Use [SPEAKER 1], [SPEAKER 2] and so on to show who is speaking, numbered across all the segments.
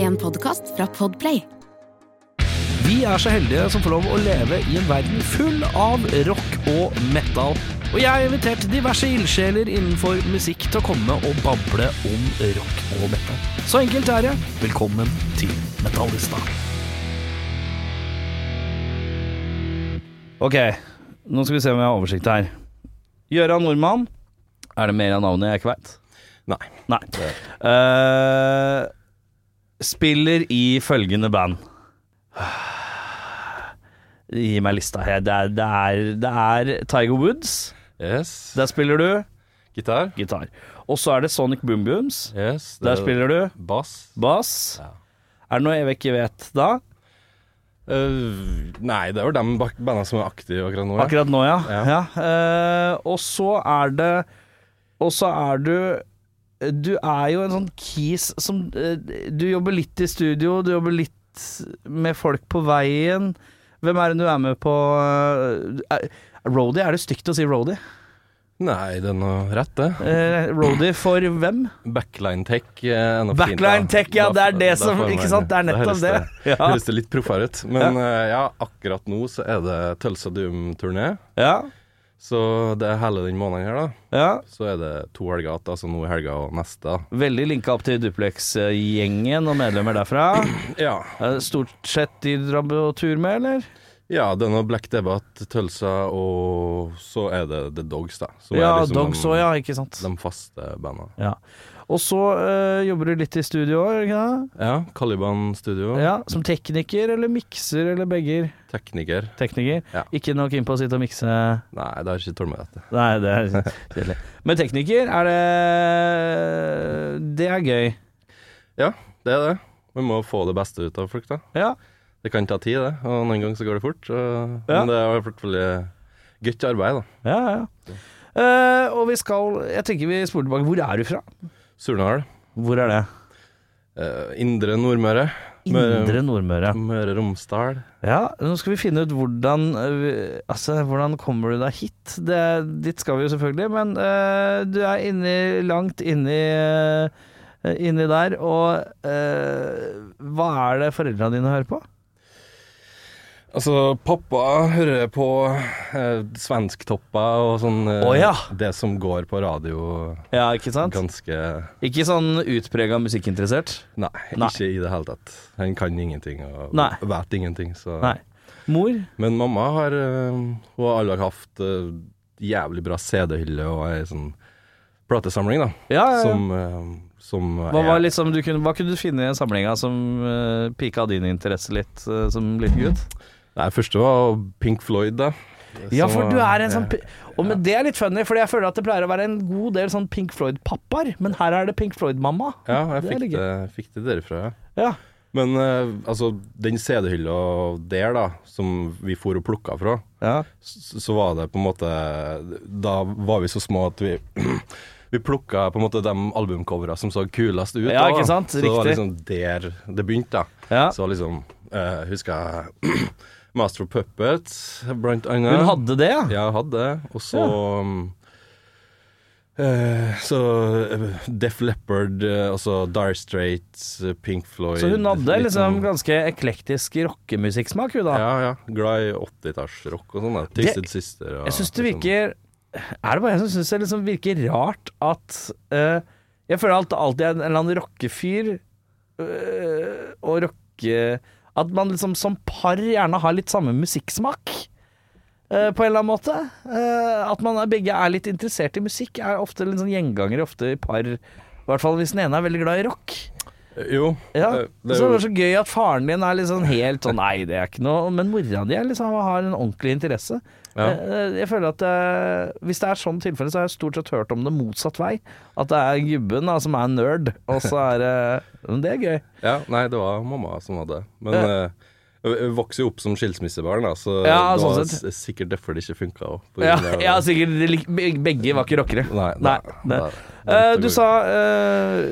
[SPEAKER 1] En podkast fra Podplay.
[SPEAKER 2] Vi er så heldige som får lov å leve i en verden full av rock og metal. Og jeg har invitert diverse ildsjeler innenfor musikk til å komme og bable om rock og metal. Så enkelt er det. Velkommen til Metallista. Ok, nå skal vi se om jeg har oversikt her. Gøran Nordmann. Er det mer av navnet jeg ikke veit?
[SPEAKER 3] Nei.
[SPEAKER 2] Nei. Eh, spiller i følgende band. Gi meg lista her. Det er, det, er, det er Tiger Woods.
[SPEAKER 3] Yes.
[SPEAKER 2] Der spiller du
[SPEAKER 3] Gitar.
[SPEAKER 2] gitar. Og så er det Sonic Boom Booms.
[SPEAKER 3] Yes.
[SPEAKER 2] Der spiller du
[SPEAKER 3] bass.
[SPEAKER 2] bass.
[SPEAKER 3] Ja.
[SPEAKER 2] Er det noe jeg ikke vet da?
[SPEAKER 3] Eh, nei, det er vel de bak- bandene som er aktive akkurat nå. ja.
[SPEAKER 2] Akkurat nå, ja. ja.
[SPEAKER 3] Ja.
[SPEAKER 2] Eh, og så er det Og så er du Du er jo en sånn kis som eh, Du jobber litt i studio, du jobber litt med folk på veien. Hvem er det du er med på eh, er- Roadie? Er det stygt å si roadie?
[SPEAKER 3] Nei, det er noe rett, det.
[SPEAKER 2] Eh, roadie for hvem?
[SPEAKER 3] Backline Tech. eh, er nok fint, da.
[SPEAKER 2] Backline Tech, ja.
[SPEAKER 3] Da-
[SPEAKER 2] Det er det
[SPEAKER 3] da
[SPEAKER 2] som
[SPEAKER 3] får man-
[SPEAKER 2] Ikke sant? Det er
[SPEAKER 3] da
[SPEAKER 2] nettopp
[SPEAKER 3] høres
[SPEAKER 2] det.
[SPEAKER 3] Det
[SPEAKER 2] Ja.
[SPEAKER 3] høres det litt proffere ut. Men eh, ja, akkurat nå så er det Tulsa Doom-turné.
[SPEAKER 2] ja.
[SPEAKER 3] Så det er hele den måneden her, da.
[SPEAKER 2] ja.
[SPEAKER 3] Så er det to helger igjen, altså nå i helga og neste. da.
[SPEAKER 2] Veldig linka opp til Duplex-gjengen og medlemmer derfra.
[SPEAKER 3] Ja.
[SPEAKER 2] Eh, Stort sett de drar på tur med, eller?
[SPEAKER 3] ja, det er noe Black Debate, Tulsa, og så er det The Dogs, da. som er
[SPEAKER 2] Ja,
[SPEAKER 3] liksom
[SPEAKER 2] Dogs
[SPEAKER 3] de-
[SPEAKER 2] òg, ja. Ikke sant.
[SPEAKER 3] De faste bandene.
[SPEAKER 2] Ja. Og så eh, jobber du litt i studio òg, ikke det?
[SPEAKER 3] Ja, Caliban Studio.
[SPEAKER 2] Ja, som tekniker eller mikser eller begge
[SPEAKER 3] Tekniker.
[SPEAKER 2] tekniker.
[SPEAKER 3] Ja.
[SPEAKER 2] Ikke noe keen på å sitte og mikse
[SPEAKER 3] Nei, det har ikke tålmodighet til.
[SPEAKER 2] Nei, det er kjedelig. Men tekniker, er det Det er gøy.
[SPEAKER 3] Ja, det er det. Vi må få det beste ut av folk, da.
[SPEAKER 2] Ja.
[SPEAKER 3] Det kan ta tid, det. Og noen ganger så går det fort. Og,
[SPEAKER 2] Ja.
[SPEAKER 3] Men det er i hvert fall godt arbeid, da.
[SPEAKER 2] Ja, ja. Eh, og vi skal Jeg tenker vi spoler tilbake. Hvor er du fra?
[SPEAKER 3] Surnadal.
[SPEAKER 2] Hvor er det?
[SPEAKER 3] eh, indre Nordmøre. Møre-
[SPEAKER 2] Indre Nordmøre.
[SPEAKER 3] Møre og Romsdal.
[SPEAKER 2] Ja, nå skal vi finne ut hvordan eh, Altså, hvordan kommer du deg hit? Det, dit skal vi jo selvfølgelig, men eh, du er inni, langt inni eh, Inni der, og eh, hva er det foreldra dine hører på?
[SPEAKER 3] Altså, pappa hører på eh, svensktoppene og sånn eh,
[SPEAKER 2] Å, ja.
[SPEAKER 3] Det som går på radio.
[SPEAKER 2] Ja, ikke sant?
[SPEAKER 3] Ganske
[SPEAKER 2] Ikke sånn utprega musikkinteressert?
[SPEAKER 3] nei,
[SPEAKER 2] Nei.
[SPEAKER 3] ikke i det hele tatt. Han kan ingenting og
[SPEAKER 2] Nei.
[SPEAKER 3] vet ingenting, så
[SPEAKER 2] Nei. Mor?
[SPEAKER 3] Men mamma har eh, Hun har aldri hatt eh, jævlig bra CD-hylle og ei sånn platesamling, da.
[SPEAKER 2] Ja, ja, ja.
[SPEAKER 3] Som, eh, som
[SPEAKER 2] Hva, var
[SPEAKER 3] er-
[SPEAKER 2] liksom, du kunne, hva kunne du finne i samlinga som eh, pika din interesse litt eh, som liten gutt?
[SPEAKER 3] Nei, første var Pink Floyd, da.
[SPEAKER 2] Ja,
[SPEAKER 3] Så-
[SPEAKER 2] for du er en sånn
[SPEAKER 3] Ja.
[SPEAKER 2] Og men det er litt funny, for jeg føler at det pleier å være en god del sånn Pink Floyd-pappaer, men her er det Pink Floyd-mamma.
[SPEAKER 3] Ja, jeg
[SPEAKER 2] Det er
[SPEAKER 3] fikk
[SPEAKER 2] litt
[SPEAKER 3] det, fikk det derifra, ja.
[SPEAKER 2] Ja.
[SPEAKER 3] Men eh, altså, den CD-hylla der, da, som vi for og plukka fra,
[SPEAKER 2] ja.
[SPEAKER 3] så, så var det på en måte Da var vi så små at vi Vi plukka på en måte de albumcovera som så kulest ut.
[SPEAKER 2] Ja,
[SPEAKER 3] da.
[SPEAKER 2] ikke sant?
[SPEAKER 3] Så det var
[SPEAKER 2] Riktig.
[SPEAKER 3] liksom der det begynte, da.
[SPEAKER 2] Ja.
[SPEAKER 3] Så liksom uh, Husker jeg Master of Puppets, blant annet.
[SPEAKER 2] Hun hadde det, ja?
[SPEAKER 3] Ja, hadde det. Og så um, eh, så eh, Def Leppard, eh, altså Dire Straits, eh, Pink Floyd
[SPEAKER 2] Så hun hadde
[SPEAKER 3] litt
[SPEAKER 2] liksom
[SPEAKER 3] sånn-
[SPEAKER 2] ganske eklektisk rockemusikksmak, hun da.
[SPEAKER 3] Ja, ja. Glad i 80-tallsrock og sånn. da. Twisted Sister og
[SPEAKER 2] Jeg syns det
[SPEAKER 3] liksom-
[SPEAKER 2] virker Er det bare jeg som syns det liksom virker rart at eh, Jeg føler at det alltid er en eller annen rockefyr eh, og rocke At man liksom som par gjerne har litt samme musikksmak. eh, på en eller annen måte. Eh, at man er, begge er litt interessert i musikk, er ofte litt sånn gjenganger ofte i par. I hvert fall hvis den ene er veldig glad i rock.
[SPEAKER 3] Jo.
[SPEAKER 2] Ja.
[SPEAKER 3] eh,
[SPEAKER 2] Det,
[SPEAKER 3] er
[SPEAKER 2] så det
[SPEAKER 3] jo-
[SPEAKER 2] var så gøy at faren din er liksom helt sånn Nei, det er ikke noe Men mora di er liksom, har en ordentlig interesse.
[SPEAKER 3] Ja.
[SPEAKER 2] Eh, Jeg føler at eh, Hvis det er sånn tilfelle, så har jeg stort sett hørt om det motsatt vei. At det er gubben da, som er nerd, og så er det Men det er gøy.
[SPEAKER 3] Ja, nei, det var mamma som hadde det. Men
[SPEAKER 2] Ja.
[SPEAKER 3] eh, jeg jeg vokste jo opp som skilsmissebarn, da, så
[SPEAKER 2] Ja,
[SPEAKER 3] det var
[SPEAKER 2] sånn sett.
[SPEAKER 3] s- sikkert derfor det ikke funka. også, på
[SPEAKER 2] Ja,
[SPEAKER 3] grunn av-
[SPEAKER 2] ja sikkert de lik- be- Begge var ikke rockere.
[SPEAKER 3] Nei,
[SPEAKER 2] Nei,
[SPEAKER 3] nei,
[SPEAKER 2] det-
[SPEAKER 3] nei,
[SPEAKER 2] Eh,
[SPEAKER 3] det
[SPEAKER 2] Du
[SPEAKER 3] går-
[SPEAKER 2] sa eh,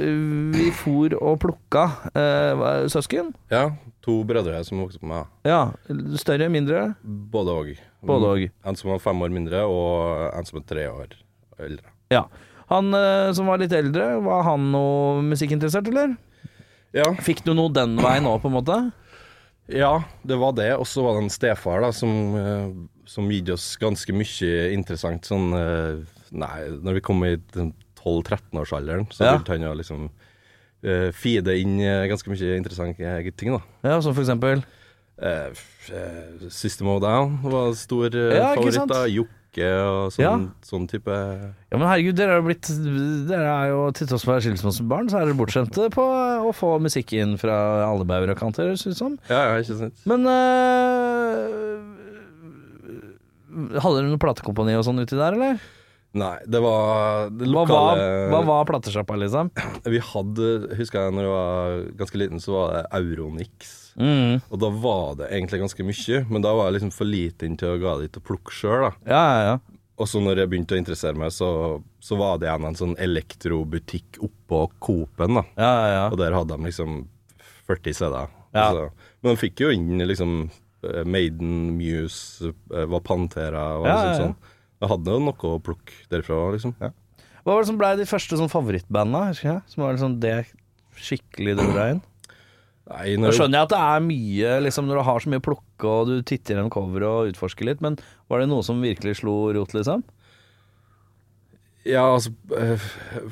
[SPEAKER 2] vi for og plukka eh, hva- søsken.
[SPEAKER 3] Ja, to brødre som vokste opp med meg.
[SPEAKER 2] Ja. Større, mindre?
[SPEAKER 3] Både og.
[SPEAKER 2] Både og.
[SPEAKER 3] En som var fem år mindre, og en som er tre år eldre.
[SPEAKER 2] Ja. Han eh, som var litt eldre, var han noe musikkinteressert, eller?
[SPEAKER 3] Ja.
[SPEAKER 2] Fikk du noe den veien òg, på en måte?
[SPEAKER 3] ja, det var det. Og så var det en stefar da, som, eh, som gitt oss ganske mye interessant sånn eh, Nei, når vi kom i sånn 12-13-årsalderen, så
[SPEAKER 2] Ja.
[SPEAKER 3] begynte han å liksom eh, feede inn eh, ganske mye interessante eh, ting, da.
[SPEAKER 2] Ja, Som for eksempel?
[SPEAKER 3] Eh, f- eh, System of a Down var stor eh,
[SPEAKER 2] Ja, ikke sant?
[SPEAKER 3] favoritt. da Jokke og sånn,
[SPEAKER 2] Ja.
[SPEAKER 3] sånn type
[SPEAKER 2] Ja, men herregud, dere er jo blitt Dere er jo til tross for å være skilsmissebarn, så er dere bortskjemte på å få musikk inn fra alle bauger og kanter, høres det ut som.
[SPEAKER 3] Ja, ja, ikke sant.
[SPEAKER 2] Men øh, Hadde dere noe platekompani og sånn uti der, eller?
[SPEAKER 3] Nei, det var det
[SPEAKER 2] Hva var,
[SPEAKER 3] lokale
[SPEAKER 2] hva var platesjappa, liksom?
[SPEAKER 3] Vi hadde, husker jeg når jeg var ganske liten, så var det Euronix.
[SPEAKER 2] Mm.
[SPEAKER 3] Og da var det egentlig ganske mye, men da var jeg liksom for liten til å gå dit og plukke sjøl.
[SPEAKER 2] Ja, ja, ja.
[SPEAKER 3] Og så når jeg begynte å interessere meg, så, så var det igjen en sånn elektrobutikk oppå Coop-en. da.
[SPEAKER 2] ja, ja, ja.
[SPEAKER 3] Og der hadde de liksom 40 CD-er.
[SPEAKER 2] Ja.
[SPEAKER 3] Altså, men de fikk jo inn liksom eh, Maiden, Muse, eh, var Pantera og
[SPEAKER 2] Ja, ja, ja.
[SPEAKER 3] liksom sånn. Jeg hadde jo noe å plukke derfra, liksom.
[SPEAKER 2] Hva var det som blei de første sånn favorittbanda? husker jeg? Som var liksom det skikkelig dro deg inn?
[SPEAKER 3] Nei,
[SPEAKER 2] Nå
[SPEAKER 3] når jeg
[SPEAKER 2] skjønner jeg at det er mye, liksom når du har så mye å plukke og du titter gjennom coveret og utforsker litt, men var det noe som virkelig slo rot, liksom?
[SPEAKER 3] Ja, altså eh,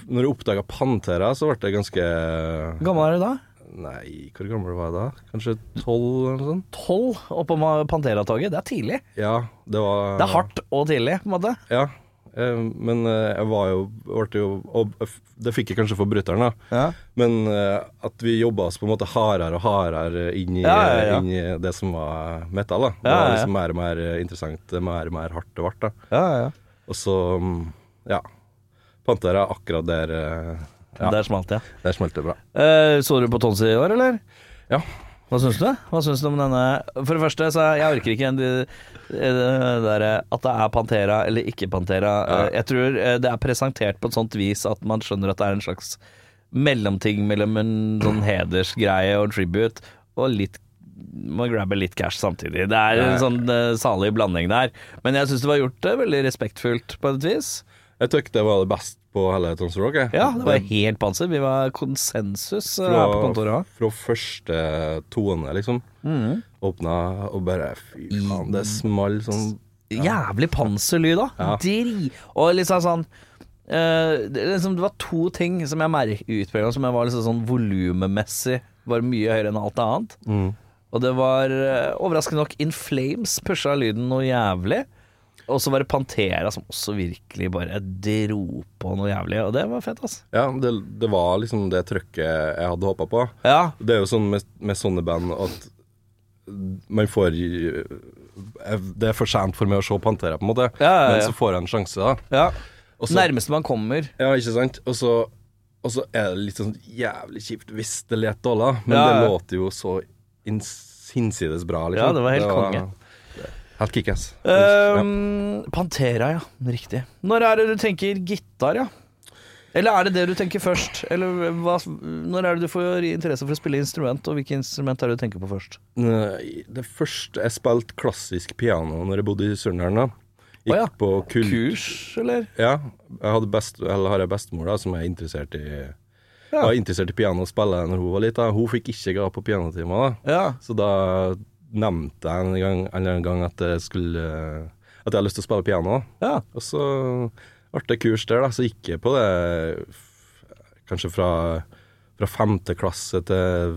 [SPEAKER 3] Når jeg oppdaga Pantera, så ble det ganske
[SPEAKER 2] Hvor gammel er du da?
[SPEAKER 3] Nei, hvor gammel var jeg da? Kanskje tolv eller noe sånt?
[SPEAKER 2] Tolv oppå Pantera-toget. Det er tidlig.
[SPEAKER 3] Ja, det var
[SPEAKER 2] Det er hardt og tidlig, på en måte.
[SPEAKER 3] Ja. eh, Men eh, jeg var jo, ble jo og f- Det fikk jeg kanskje for brutter'n, da.
[SPEAKER 2] Ja.
[SPEAKER 3] Men eh, at vi jobba oss på en måte hardere og hardere inn i,
[SPEAKER 2] Ja, ja, ja.
[SPEAKER 3] Inn i det som var metal. da.
[SPEAKER 2] Ja,
[SPEAKER 3] Det var
[SPEAKER 2] ja, ja.
[SPEAKER 3] liksom mer og mer interessant, mer og mer hardt det ble. da.
[SPEAKER 2] Ja, ja.
[SPEAKER 3] Og så, mm, ja. Pantera akkurat der eh, ja,
[SPEAKER 2] Der smalt jeg.
[SPEAKER 3] Der smalt det bra.
[SPEAKER 2] Eh, så du på Tonsi i år, eller?
[SPEAKER 3] Ja.
[SPEAKER 2] Hva syns du? Hva syns du om denne For det første, så jeg orker ikke en- det derre at det er Pantera eller ikke Pantera.
[SPEAKER 3] Ja.
[SPEAKER 2] Eh, Jeg tror eh, det er presentert på et sånt vis at man skjønner at det er en slags mellomting mellom en sånn hedersgreie og tribute, og litt må grabbe litt cash samtidig. Det er en
[SPEAKER 3] Ja.
[SPEAKER 2] sånn eh, salig blanding der. Men jeg syns det var gjort eh, veldig respektfullt, på et vis.
[SPEAKER 3] Jeg tykk det var det best på hele Tons Rock. jeg.
[SPEAKER 2] Ja, det var helt panser. Vi var konsensus eh, her på kontoret òg.
[SPEAKER 3] fra første tone, liksom. Åpna og bare Fy faen, det small sånn
[SPEAKER 2] Jævlig panserlyd, da.
[SPEAKER 3] Ja.
[SPEAKER 2] Dri. Og liksom sånn eh, det, liksom, det var to ting som jeg merket utpå som jeg var liksom sånn volummessig var mye høyere enn alt annet. Og det var eh, overraskende nok In Flames pusha lyden noe jævlig. Og så var det Pantera som også virkelig bare dro på noe jævlig, og det var fett, altså.
[SPEAKER 3] Ja, det, det var liksom det trøkket jeg hadde håpa på.
[SPEAKER 2] Ja.
[SPEAKER 3] Det er jo sånn med, med sånne band at man får jeg- Det er for sent for meg å se Pantera, på en måte,
[SPEAKER 2] Ja, ja, ja.
[SPEAKER 3] men så får jeg en sjanse, da.
[SPEAKER 2] ja.
[SPEAKER 3] Og så-
[SPEAKER 2] Nærmeste man kommer.
[SPEAKER 3] Ja, ikke sant? Og så, og så er det litt sånn jævlig kjipt hvis det leter dårlig, men
[SPEAKER 2] Ja, ja.
[SPEAKER 3] det låter jo så ins- hinsides bra, liksom.
[SPEAKER 2] Ja, det var helt konge.
[SPEAKER 3] Helt kickass. Ja.
[SPEAKER 2] Ehm, Pantera, ja. Riktig. Når er det du tenker gitar, ja? Eller er det det du tenker først? Eller hva, når er det du får interesse for å spille instrument, og hvilke instrument er det du tenker på først?
[SPEAKER 3] Nei, Det første jeg spilte klassisk piano når jeg bodde i Surnadal, da. Gikk
[SPEAKER 2] Å, ja.
[SPEAKER 3] på kull...
[SPEAKER 2] Kurs, eller?
[SPEAKER 3] Ja. Jeg hadde best, eller har jeg bestemor da, som er interessert i
[SPEAKER 2] Ja.
[SPEAKER 3] var interessert i piano og spille når hun var lita. Hun fikk ikke gå på pianotimer, da.
[SPEAKER 2] Ja.
[SPEAKER 3] Så da nevnte jeg en, gang, en eller annen gang at jeg skulle At jeg hadde lyst til å spille piano.
[SPEAKER 2] ja.
[SPEAKER 3] Og så ble det kurs der, da. Så gikk jeg på det f- kanskje fra, fra femte klasse til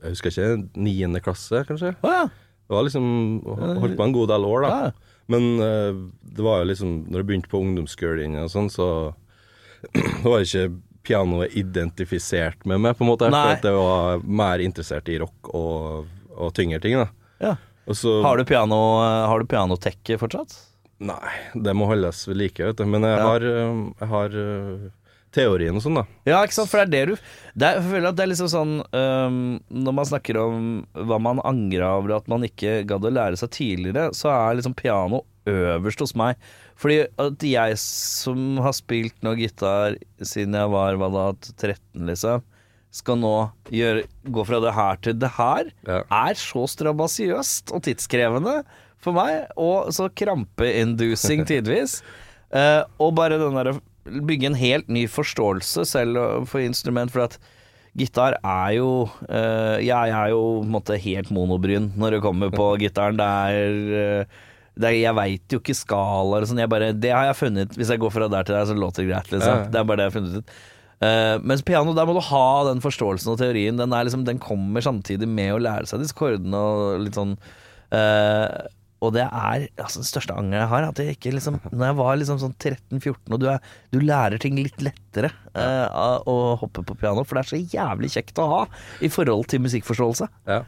[SPEAKER 3] jeg husker ikke, niende klasse, kanskje.
[SPEAKER 2] Å ja.
[SPEAKER 3] Det var liksom Holdt på en god del år, da.
[SPEAKER 2] Ja.
[SPEAKER 3] Men eh, det var jo liksom Når jeg begynte på ungdomsskolen og sånn, så det var ikke pianoet identifisert med meg, på en måte.
[SPEAKER 2] Nei.
[SPEAKER 3] For at jeg var mer interessert i rock og, og tyngre ting, da.
[SPEAKER 2] ja.
[SPEAKER 3] Og så
[SPEAKER 2] Har du piano eh, Har du pianotekke fortsatt?
[SPEAKER 3] Nei, det må holdes ved like, vet du. Men jeg
[SPEAKER 2] Ja.
[SPEAKER 3] har, øhm, jeg har øh, teorien og sånn, da.
[SPEAKER 2] Ja, ikke sant, for det er det du det er, Jeg føler at det er liksom sånn øhm, Når man snakker om hva man angrer over at man ikke gadd å lære seg tidligere, så er liksom piano øverst hos meg. Fordi at jeg som har spilt nå gitar siden jeg var hva da, 13, liksom, skal nå gjøre, gå fra det her til det her,
[SPEAKER 3] Ja.
[SPEAKER 2] er så strabasiøst og tidskrevende for meg, og så krampeinducing tidvis. Eh, og bare den derre bygge en helt ny forståelse selv for eh, instrument, for at gitar er jo eh, Jeg er jo på en måte helt monobryn når det kommer på gitaren. Det er, eh, det er Jeg veit jo ikke skalaer og sånn. Jeg bare- Det har jeg funnet Hvis jeg går fra der til der, så låter det greit,
[SPEAKER 3] Ja,
[SPEAKER 2] liksom.
[SPEAKER 3] ja.
[SPEAKER 2] Det er bare det jeg har funnet ut. Eh, mens piano, der må du ha den forståelsen og teorien. Den, er liksom, den kommer samtidig med å lære seg disse kordene og litt sånn eh, og det er altså, den største angeren jeg har. At jeg ikke liksom Når jeg var liksom sånn 13-14, og du, er, du lærer ting litt lettere eh, av å hoppe på piano, for det er så jævlig kjekt å ha i forhold til musikkforståelse.
[SPEAKER 3] Ja.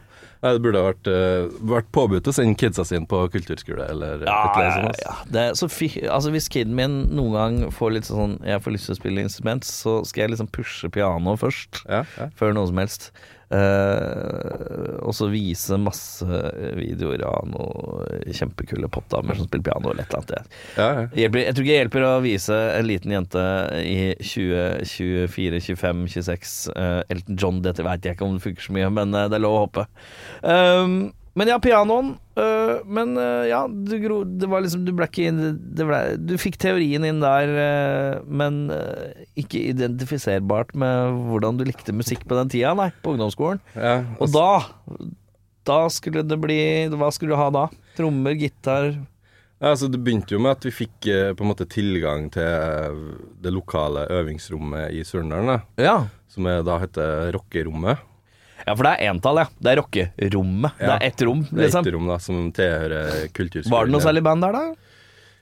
[SPEAKER 3] Nei, det burde ha vært, eh, vært påbudt å sende kidsa sine på kulturskole eller et eller annet. sånt, ass.
[SPEAKER 2] Det, er- så fi, altså, hvis kiden min noen gang får litt sånn Jeg får lyst til å spille instrument, så skal jeg liksom pushe piano først.
[SPEAKER 3] Ja, ja.
[SPEAKER 2] Før noe som helst. Eh, og så vise masse videoer av noen kjempekule popdamer som spiller piano eller et eller annet. Jeg-
[SPEAKER 3] Ja, ja.
[SPEAKER 2] Hjelper, jeg tror ikke det hjelper å vise en liten jente i 20, 24, 25, 26 eh, Elton John, dette veit jeg ikke om det funker så mye, men eh, det er lov å håpe. Ehm, men ja, pianoen. eh, men eh, ja, du gro Det var liksom Du ble ikke inn det ble, Du fikk teorien inn der, eh, men eh, ikke identifiserbart med hvordan du likte musikk på den tida, nei, på ungdomsskolen.
[SPEAKER 3] ja.
[SPEAKER 2] Og da Da skulle det bli Hva skulle du ha da? Trommer, gitar
[SPEAKER 3] Ja, altså Det begynte jo med at vi fikk eh, på en måte tilgang til eh, det lokale øvingsrommet i Surndalen, da,
[SPEAKER 2] Ja
[SPEAKER 3] som er, da heter Rockerommet.
[SPEAKER 2] Ja, for det er entall, ja. Det er rockerommet. Det
[SPEAKER 3] Ja.
[SPEAKER 2] er ett rom,
[SPEAKER 3] Det er
[SPEAKER 2] liksom.
[SPEAKER 3] et rom da, som tilhører kulturskolen.
[SPEAKER 2] Var det noe særlig band der, da?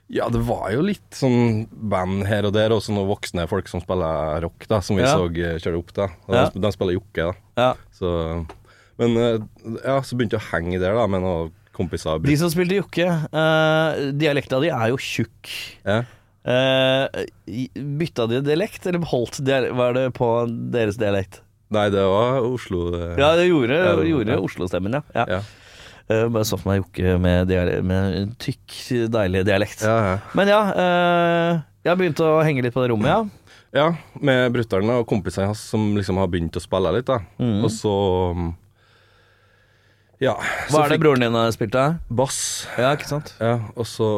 [SPEAKER 3] Ja, det var jo litt sånn band her og der, også noen voksne folk som spiller rock, da, som vi
[SPEAKER 2] Ja.
[SPEAKER 3] så eh, kjøre opp. da. Og
[SPEAKER 2] Ja.
[SPEAKER 3] de, de spiller jokke, da.
[SPEAKER 2] Ja.
[SPEAKER 3] Så, men eh, ja, så begynte jeg å henge der da, med noen kompiser. og
[SPEAKER 2] De
[SPEAKER 3] bruk-
[SPEAKER 2] som spilte jokke, uh, dialekta di er jo tjukk.
[SPEAKER 3] Ja.
[SPEAKER 2] Eh, i- bytta de dialekt, eller holdt dialekt, var det på deres dialekt?
[SPEAKER 3] Nei, det var Oslo. eh,
[SPEAKER 2] Ja, det gjorde,
[SPEAKER 3] Ja, det-
[SPEAKER 2] gjorde
[SPEAKER 3] ja.
[SPEAKER 2] Oslo-stemmen, ja. ja.
[SPEAKER 3] Ja.
[SPEAKER 2] Eh, bare så for meg jokke med, diale- med en tykk, deilig dialekt.
[SPEAKER 3] Ja, ja.
[SPEAKER 2] Men ja, eh, jeg begynte å henge litt på det rommet, ja.
[SPEAKER 3] Ja, med brutter'n og kompisene hans som liksom har begynt å spille litt, da.
[SPEAKER 2] Mhm.
[SPEAKER 3] Og så um, Ja.
[SPEAKER 2] Hva
[SPEAKER 3] så
[SPEAKER 2] er det
[SPEAKER 3] fikk-
[SPEAKER 2] broren din har spilt, da?
[SPEAKER 3] Bass.
[SPEAKER 2] Ja, ikke sant?
[SPEAKER 3] Ja, og så,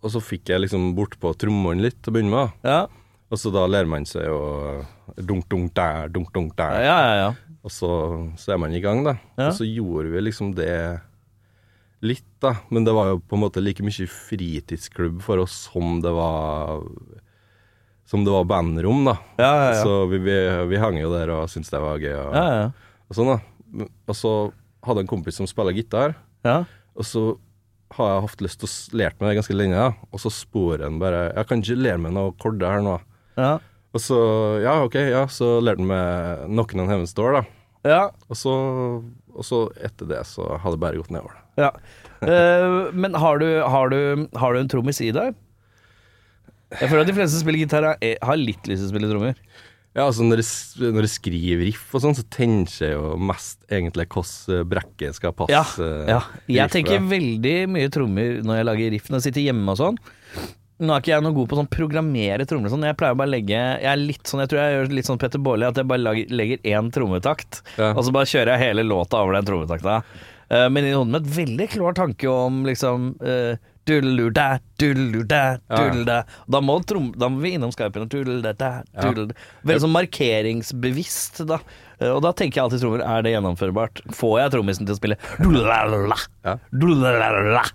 [SPEAKER 3] og så fikk jeg liksom bortpå trommene litt til å begynne med. da.
[SPEAKER 2] Ja,
[SPEAKER 3] Og så da lærer man seg å eh, dunk, dunk der, dunk, dunk
[SPEAKER 2] ja,
[SPEAKER 3] der.
[SPEAKER 2] ja. ja.
[SPEAKER 3] Og så, så er man i gang, da.
[SPEAKER 2] Ja.
[SPEAKER 3] Og så gjorde vi liksom det litt, da. Men det var jo på en måte like mye fritidsklubb for oss som det var Som det var bandrom, da.
[SPEAKER 2] ja, ja, ja.
[SPEAKER 3] Så vi, vi, vi hang jo der og syntes det var gøy. Og,
[SPEAKER 2] ja, ja.
[SPEAKER 3] og sånn da Men- Og så hadde jeg en kompis som spiller gitar,
[SPEAKER 2] ja.
[SPEAKER 3] og så har jeg hatt lyst til å s- lære meg det ganske lenge, da. og så spor han bare Jeg kan ikke lære meg noe korder her nå.
[SPEAKER 2] Ja.
[SPEAKER 3] Og så Ja, OK, ja, så lærte han meg Knockin' on Heaven's Door, da.
[SPEAKER 2] ja,
[SPEAKER 3] Og så, og så etter det så har det bare gått nedover. da.
[SPEAKER 2] ja. Eh, men har du, har, du, har du en trommis i deg? Jeg føler at de fleste som spiller gitar, er- eh, har litt lyst til å spille trommer.
[SPEAKER 3] Ja, altså når jeg, s- når jeg skriver riff og sånn, så tenker jeg jo mest egentlig hvordan brekket skal passe.
[SPEAKER 2] Ja,
[SPEAKER 3] eh,
[SPEAKER 2] ja. Jeg
[SPEAKER 3] riffet, da.
[SPEAKER 2] tenker veldig mye trommer når jeg lager riff, når jeg sitter hjemme og sånn. Nå er ikke jeg noe god på å sånn programmere trommer og sånn. Jeg pleier bare å legge Jeg er litt sånn, jeg tror jeg gjør litt sånn Petter Baarli, at jeg bare lager, legger én trommetakt,
[SPEAKER 3] Ja.
[SPEAKER 2] og så bare kjører jeg hele låta over den trommetakta. Eh, men i hodet mitt veldig klar tanke om liksom uh, Dulluda, dulluda,
[SPEAKER 3] Ja.
[SPEAKER 2] dulluda. Da må, trom, da må vi innom Skypen og dulluda,
[SPEAKER 3] Ja.
[SPEAKER 2] dulluda. Veldig sånn markeringsbevisst, da. Eh, Og da tenker jeg alltid trommer. Er det gjennomførbart? Får jeg trommisen til å spille dullalala,
[SPEAKER 3] Ja.
[SPEAKER 2] dullalala?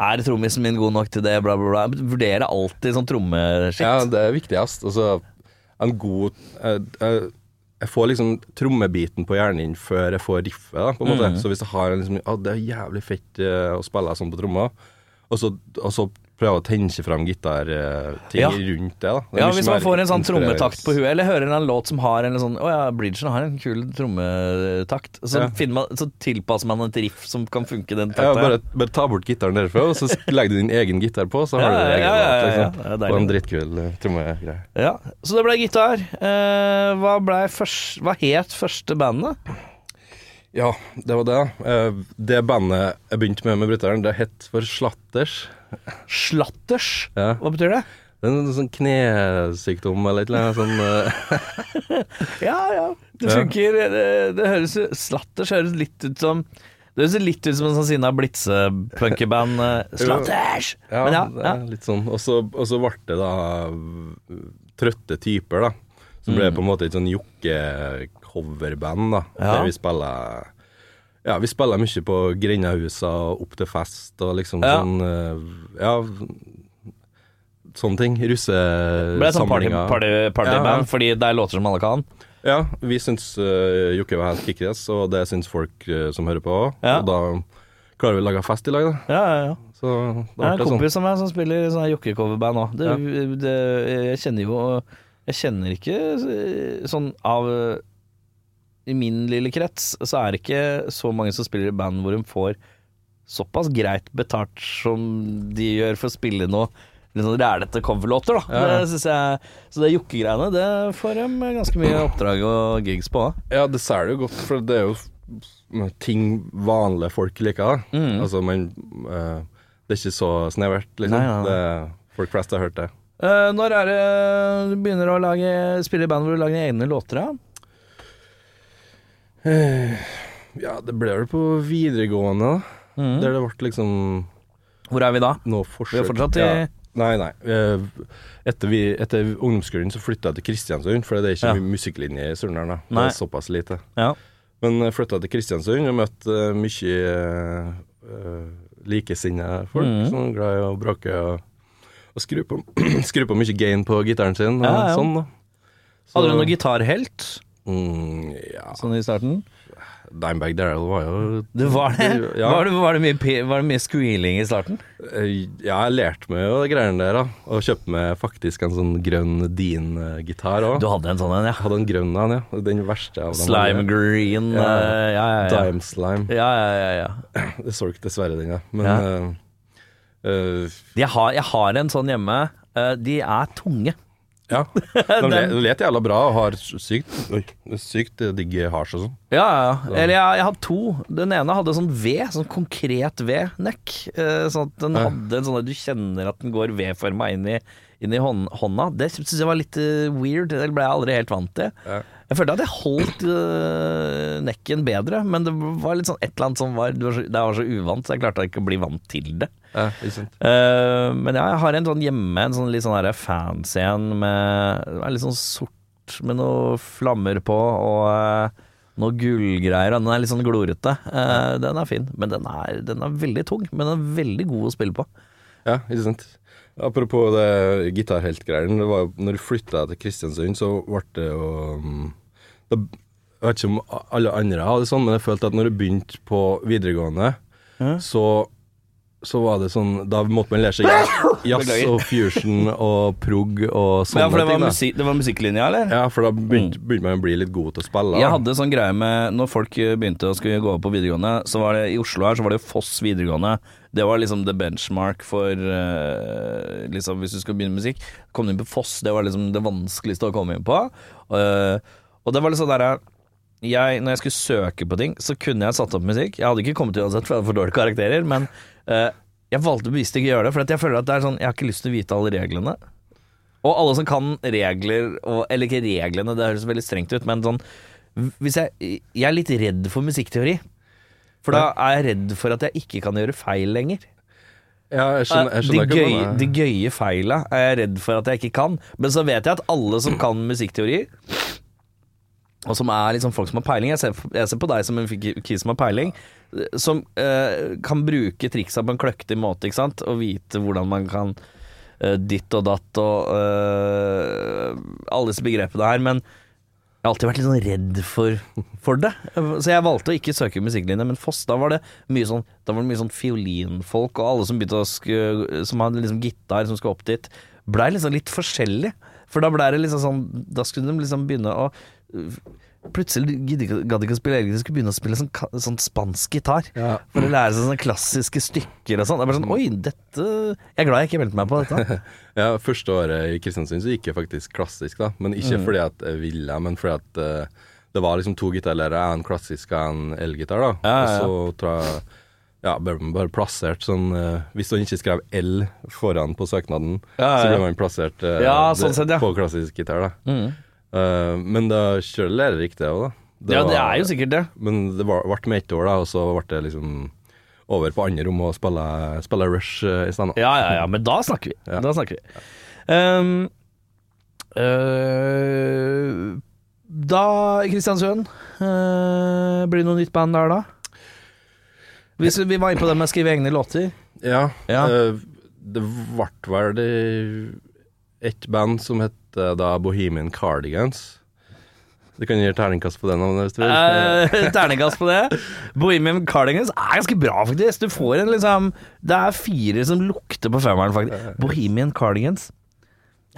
[SPEAKER 2] Er trommisen min god nok til det? Bla, bla, bla. Vurderer alltid sånn trommeskitt.
[SPEAKER 3] Ja, det er viktigst. Altså, en god jeg, jeg, jeg får liksom trommebiten på hjernen inn før jeg får riffet, da, på en måte.
[SPEAKER 2] Mm.
[SPEAKER 3] Så hvis jeg har en liksom Å, det er jævlig fett eh, å spille sånn på tromma, og så, og så prøve å tenke fram gitarting
[SPEAKER 2] Ja.
[SPEAKER 3] eh, rundt det, da. Det er
[SPEAKER 2] Ja,
[SPEAKER 3] mye
[SPEAKER 2] hvis man
[SPEAKER 3] mer
[SPEAKER 2] får en sånn
[SPEAKER 3] inspirerende.
[SPEAKER 2] trommetakt på huet, eller hører en eller annen låt som har en sånn Å ja, Bridgen har en kul trommetakt. Så,
[SPEAKER 3] Ja.
[SPEAKER 2] finner man, så tilpasser man et riff som kan funke den
[SPEAKER 3] Ja,
[SPEAKER 2] takta.
[SPEAKER 3] bare, bare ta bort gitaren derfra, og så legger du din egen gitar på, så har
[SPEAKER 2] Ja,
[SPEAKER 3] du din
[SPEAKER 2] ja,
[SPEAKER 3] egen
[SPEAKER 2] ja, ja,
[SPEAKER 3] låt,
[SPEAKER 2] ja,
[SPEAKER 3] liksom.
[SPEAKER 2] ja, det er
[SPEAKER 3] På
[SPEAKER 2] deilig.
[SPEAKER 3] en drittkul eh, trommegreie.
[SPEAKER 2] Ja, Så det ble gitar. Eh, hva, ble først, hva het første bandet?
[SPEAKER 3] Ja, det var det. Eh, Det bandet jeg begynte med med bryteren, det het for Slatters.
[SPEAKER 2] Slatters.
[SPEAKER 3] Ja.
[SPEAKER 2] Hva betyr det?
[SPEAKER 3] Det er en sånn knesykdom eller et eller annet sånn eh,
[SPEAKER 2] Ja, ja. Det
[SPEAKER 3] Ja.
[SPEAKER 2] funker. Det, det høres Slatters høres litt ut som Det høres litt ut som en sånn sinna blitse-punkeband. eh, Slatters!
[SPEAKER 3] Ja,
[SPEAKER 2] Men ja,
[SPEAKER 3] det
[SPEAKER 2] ja.
[SPEAKER 3] er litt sånn. Og så og så ble det da eh, trøtte typer, da. Som ble på en måte et sånn jokke coverband, da.
[SPEAKER 2] Mm. Ja.
[SPEAKER 3] Der vi spiller Ja, vi spiller mye på grendehusa og opp til fest og liksom
[SPEAKER 2] Ja.
[SPEAKER 3] sånn eh, Ja, sånne ting.
[SPEAKER 2] Ble det sånn party-
[SPEAKER 3] Russesamlinger.
[SPEAKER 2] party- partyband
[SPEAKER 3] Ja, ja.
[SPEAKER 2] fordi det er låter som alle kan?
[SPEAKER 3] Ja, vi syns eh, Jokke var helt kickass, og det syns folk eh, som hører på òg.
[SPEAKER 2] Ja.
[SPEAKER 3] Og da klarer vi å lage fest i lag, da.
[SPEAKER 2] Ja, ja, ja.
[SPEAKER 3] Så
[SPEAKER 2] Det
[SPEAKER 3] da
[SPEAKER 2] er
[SPEAKER 3] ble
[SPEAKER 2] en
[SPEAKER 3] det sånn.
[SPEAKER 2] kompis av meg som spiller i sånn her jokkecoverband òg. Det, det, jeg kjenner jo Jeg kjenner ikke eh, sånn av I min lille krets så er det ikke så mange som spiller i band hvor de får såpass greit betalt som de gjør for å spille noe litt sånn rælete coverlåter, da.
[SPEAKER 3] Ja, ja.
[SPEAKER 2] Det synes jeg, så det jokkegreiene, det får de ganske mye oppdrag og gigs på.
[SPEAKER 3] Ja, det selger jo godt, for det er jo f- ting vanlige folk liker. da.
[SPEAKER 2] Mm.
[SPEAKER 3] Altså, men eh, det er ikke så snevert, liksom.
[SPEAKER 2] Nei, nei, nei.
[SPEAKER 3] Det, folk flest har hørt det.
[SPEAKER 2] Eh, når er det du begynner å lage, spille i band hvor du lager egne låter? Da?
[SPEAKER 3] Ja, det ble vel på videregående, da. Der det ble liksom
[SPEAKER 2] Hvor er vi da?
[SPEAKER 3] noe
[SPEAKER 2] Mm.
[SPEAKER 3] forsøk.
[SPEAKER 2] Vi er fortsatt i-
[SPEAKER 3] Ja. Nei, nei. Eh, Etter, vi, etter ungdomsskolen så flytta jeg til Kristiansund, for det er
[SPEAKER 2] Ja.
[SPEAKER 3] ikke mye musikklinje i Surnadal. da. Det
[SPEAKER 2] Nei.
[SPEAKER 3] er såpass lite.
[SPEAKER 2] Ja.
[SPEAKER 3] Men jeg flytta til Kristiansund og møtte eh, mye uh, likesinnede folk
[SPEAKER 2] Mm.
[SPEAKER 3] som er glad i å bråke og, og skru, på, skru på mye gain på gitaren sin og
[SPEAKER 2] Ja, ja.
[SPEAKER 3] sånn, da. Så-
[SPEAKER 2] Hadde du noen gitarhelt
[SPEAKER 3] Mm, ja.
[SPEAKER 2] sånn i starten?
[SPEAKER 3] Dimebag Darrell var jo
[SPEAKER 2] Det var det.
[SPEAKER 3] Ja.
[SPEAKER 2] Var, det, var, det mye, pe- var det mye squealing i starten?
[SPEAKER 3] Eh, Ja, jeg lærte meg jo de greiene der, da. Og kjøpte meg faktisk en sånn grønn Dean-gitar òg.
[SPEAKER 2] Du hadde en sånn en, ja.
[SPEAKER 3] Hadde en grønn en, ja. Den verste av dem.
[SPEAKER 2] Slime green
[SPEAKER 3] Ja.
[SPEAKER 2] eh, Ja, ja, ja.
[SPEAKER 3] Dime Slime.
[SPEAKER 2] ja, ja, ja, ja.
[SPEAKER 3] Jeg solgte dessverre den, ja. Men
[SPEAKER 2] Ja.
[SPEAKER 3] eh, eh,
[SPEAKER 2] Jeg, har, jeg har en sånn hjemme. Eh, De er tunge.
[SPEAKER 3] Ja. De le- let jævla bra og har sykt Oi, sykt digg hasj og sånn.
[SPEAKER 2] Ja, ja. ja. Eller jeg, jeg hadde to. Den ene hadde sånn ved, sånn konkret vednekk. Eh, Sånn at den
[SPEAKER 3] Ja.
[SPEAKER 2] hadde en sånn at du kjenner at den går vedforma inn i, inn i hånd, hånda. Det syns jeg var litt eh, weird. Det ble jeg aldri helt vant til.
[SPEAKER 3] Ja.
[SPEAKER 2] Jeg følte at jeg holdt eh, nekken bedre, men det var litt sånn et eller annet som var Det var så, det var så uvant, så jeg klarte ikke å bli vant til det.
[SPEAKER 3] Ja, ikke sant.
[SPEAKER 2] Eh, men ja, jeg har en sånn hjemme, en sånn litt sånn der fancy en med det er litt sånn sort med noe flammer på og eh, noe gullgreier. og Den er litt sånn glorete. Eh, den er fin, men den er, den er veldig tung. Men den er veldig god å spille på.
[SPEAKER 3] Ja, ikke sant. Apropos det gitarheltgreiene. Det var jo når du flytta til Kristiansund, så ble det jo mm, det, Jeg vet ikke om a- alle andre hadde det sånn, men jeg følte at når du begynte på videregående, så så var det sånn Da måtte man lære seg jazz- jazz
[SPEAKER 2] Beklager.
[SPEAKER 3] og fusion og prog og sånne ting. da.
[SPEAKER 2] musikklinja, eller?
[SPEAKER 3] Ja, for da begynte, begynte man å bli litt god til å spille. da.
[SPEAKER 2] Jeg hadde sånn greie med Når folk eh, begynte å skulle gå opp på videregående, så var det i Oslo her, så var det jo Foss videregående. Det var liksom the benchmark for eh, liksom Hvis du skal begynne med musikk, kom du inn på Foss. Det var liksom det vanskeligste å komme inn på. Eh, og det var litt sånn derre jeg, når jeg skulle søke på ting, så kunne jeg satt opp musikk. Jeg hadde ikke kommet uansett, for jeg hadde for dårlige karakterer, men eh, jeg valgte bevisst ikke å gjøre det, for at jeg føler at det er sånn Jeg har ikke lyst til å vite alle reglene. Og alle som kan regler og, Eller ikke reglene, det høres veldig strengt ut, men sånn hvis jeg, jeg er litt redd for musikkteori. For da er jeg redd for at jeg ikke kan gjøre feil lenger.
[SPEAKER 3] ja, jeg skjønner, jeg
[SPEAKER 2] de,
[SPEAKER 3] skjønner ikke
[SPEAKER 2] gøye,
[SPEAKER 3] hva
[SPEAKER 2] de
[SPEAKER 3] det er.
[SPEAKER 2] gøye feila er jeg redd for at jeg ikke kan. Men så vet jeg at alle som kan musikkteori, og som er liksom folk som har peiling Jeg ser, jeg ser på deg som en fik- kis som har peiling, som eh, kan bruke triksa på en kløktig måte, ikke sant, og vite hvordan man kan eh, ditt og datt og eh, alle disse begrepene her, men jeg har alltid vært litt sånn redd for, for det. Så jeg valgte å ikke søke musikklinje, men Foss, da var det mye sånn Da var det mye sånn fiolinfolk, og alle som begynte å sku, Som hadde liksom gitar, som skulle opp dit, blei liksom litt forskjellig. For da blei det liksom sånn Da skulle de liksom begynne å Plutselig gidde ikke- gadd ikke å spille eget, de skulle begynne å spille sånn, ka- sånn spansk gitar.
[SPEAKER 3] Ja.
[SPEAKER 2] For å lære seg sånne klassiske stykker og sånn. Det er bare sånn Oi, dette Jeg er glad jeg ikke meldte meg på dette.
[SPEAKER 3] Ja, første året i Kristiansund så gikk jeg faktisk klassisk, da. Men ikke
[SPEAKER 2] Mm.
[SPEAKER 3] fordi at jeg ville, men fordi at eh, det var liksom to gitarlærere, en klassisk og en elgitar, da.
[SPEAKER 2] Ja, ja, ja.
[SPEAKER 3] Og så tror jeg ja, bare, bare plassert sånn eh, Hvis man ikke skrev L foran på søknaden,
[SPEAKER 2] Ja, ja,
[SPEAKER 3] så
[SPEAKER 2] ja.
[SPEAKER 3] ble man plassert eh,
[SPEAKER 2] Ja, sånn
[SPEAKER 3] det-
[SPEAKER 2] sett, ja. Mm.
[SPEAKER 3] på klassisk gitar, da. Eh, men da kjører lærer riktig òg,
[SPEAKER 2] Ja,
[SPEAKER 3] da.
[SPEAKER 2] det
[SPEAKER 3] var-
[SPEAKER 2] er jo sikkert det.
[SPEAKER 3] Men det var- ble med ett år, da, og så ble det liksom over på andre rom og spille, spille Rush eh, i stedet.
[SPEAKER 2] Ja, ja, ja, men da snakker vi. Ehm, Da snakker vi. Um, øh, Da, Kristiansund, eh, blir det noe nytt band der da? Hvis vi var inne på det med å skrive egne låter.
[SPEAKER 3] Ja,
[SPEAKER 2] Ja.
[SPEAKER 3] eh, det ble vel det- et band som het eh, da Bohemian Cardigans. Du kan gi terningkast på den om du vil.
[SPEAKER 2] Eh, Terningkast på det. Bohemian Cardigans er ganske bra, faktisk. Du får en liksom Det er fire som lukter på femmeren, faktisk. Bohemian Cardigans.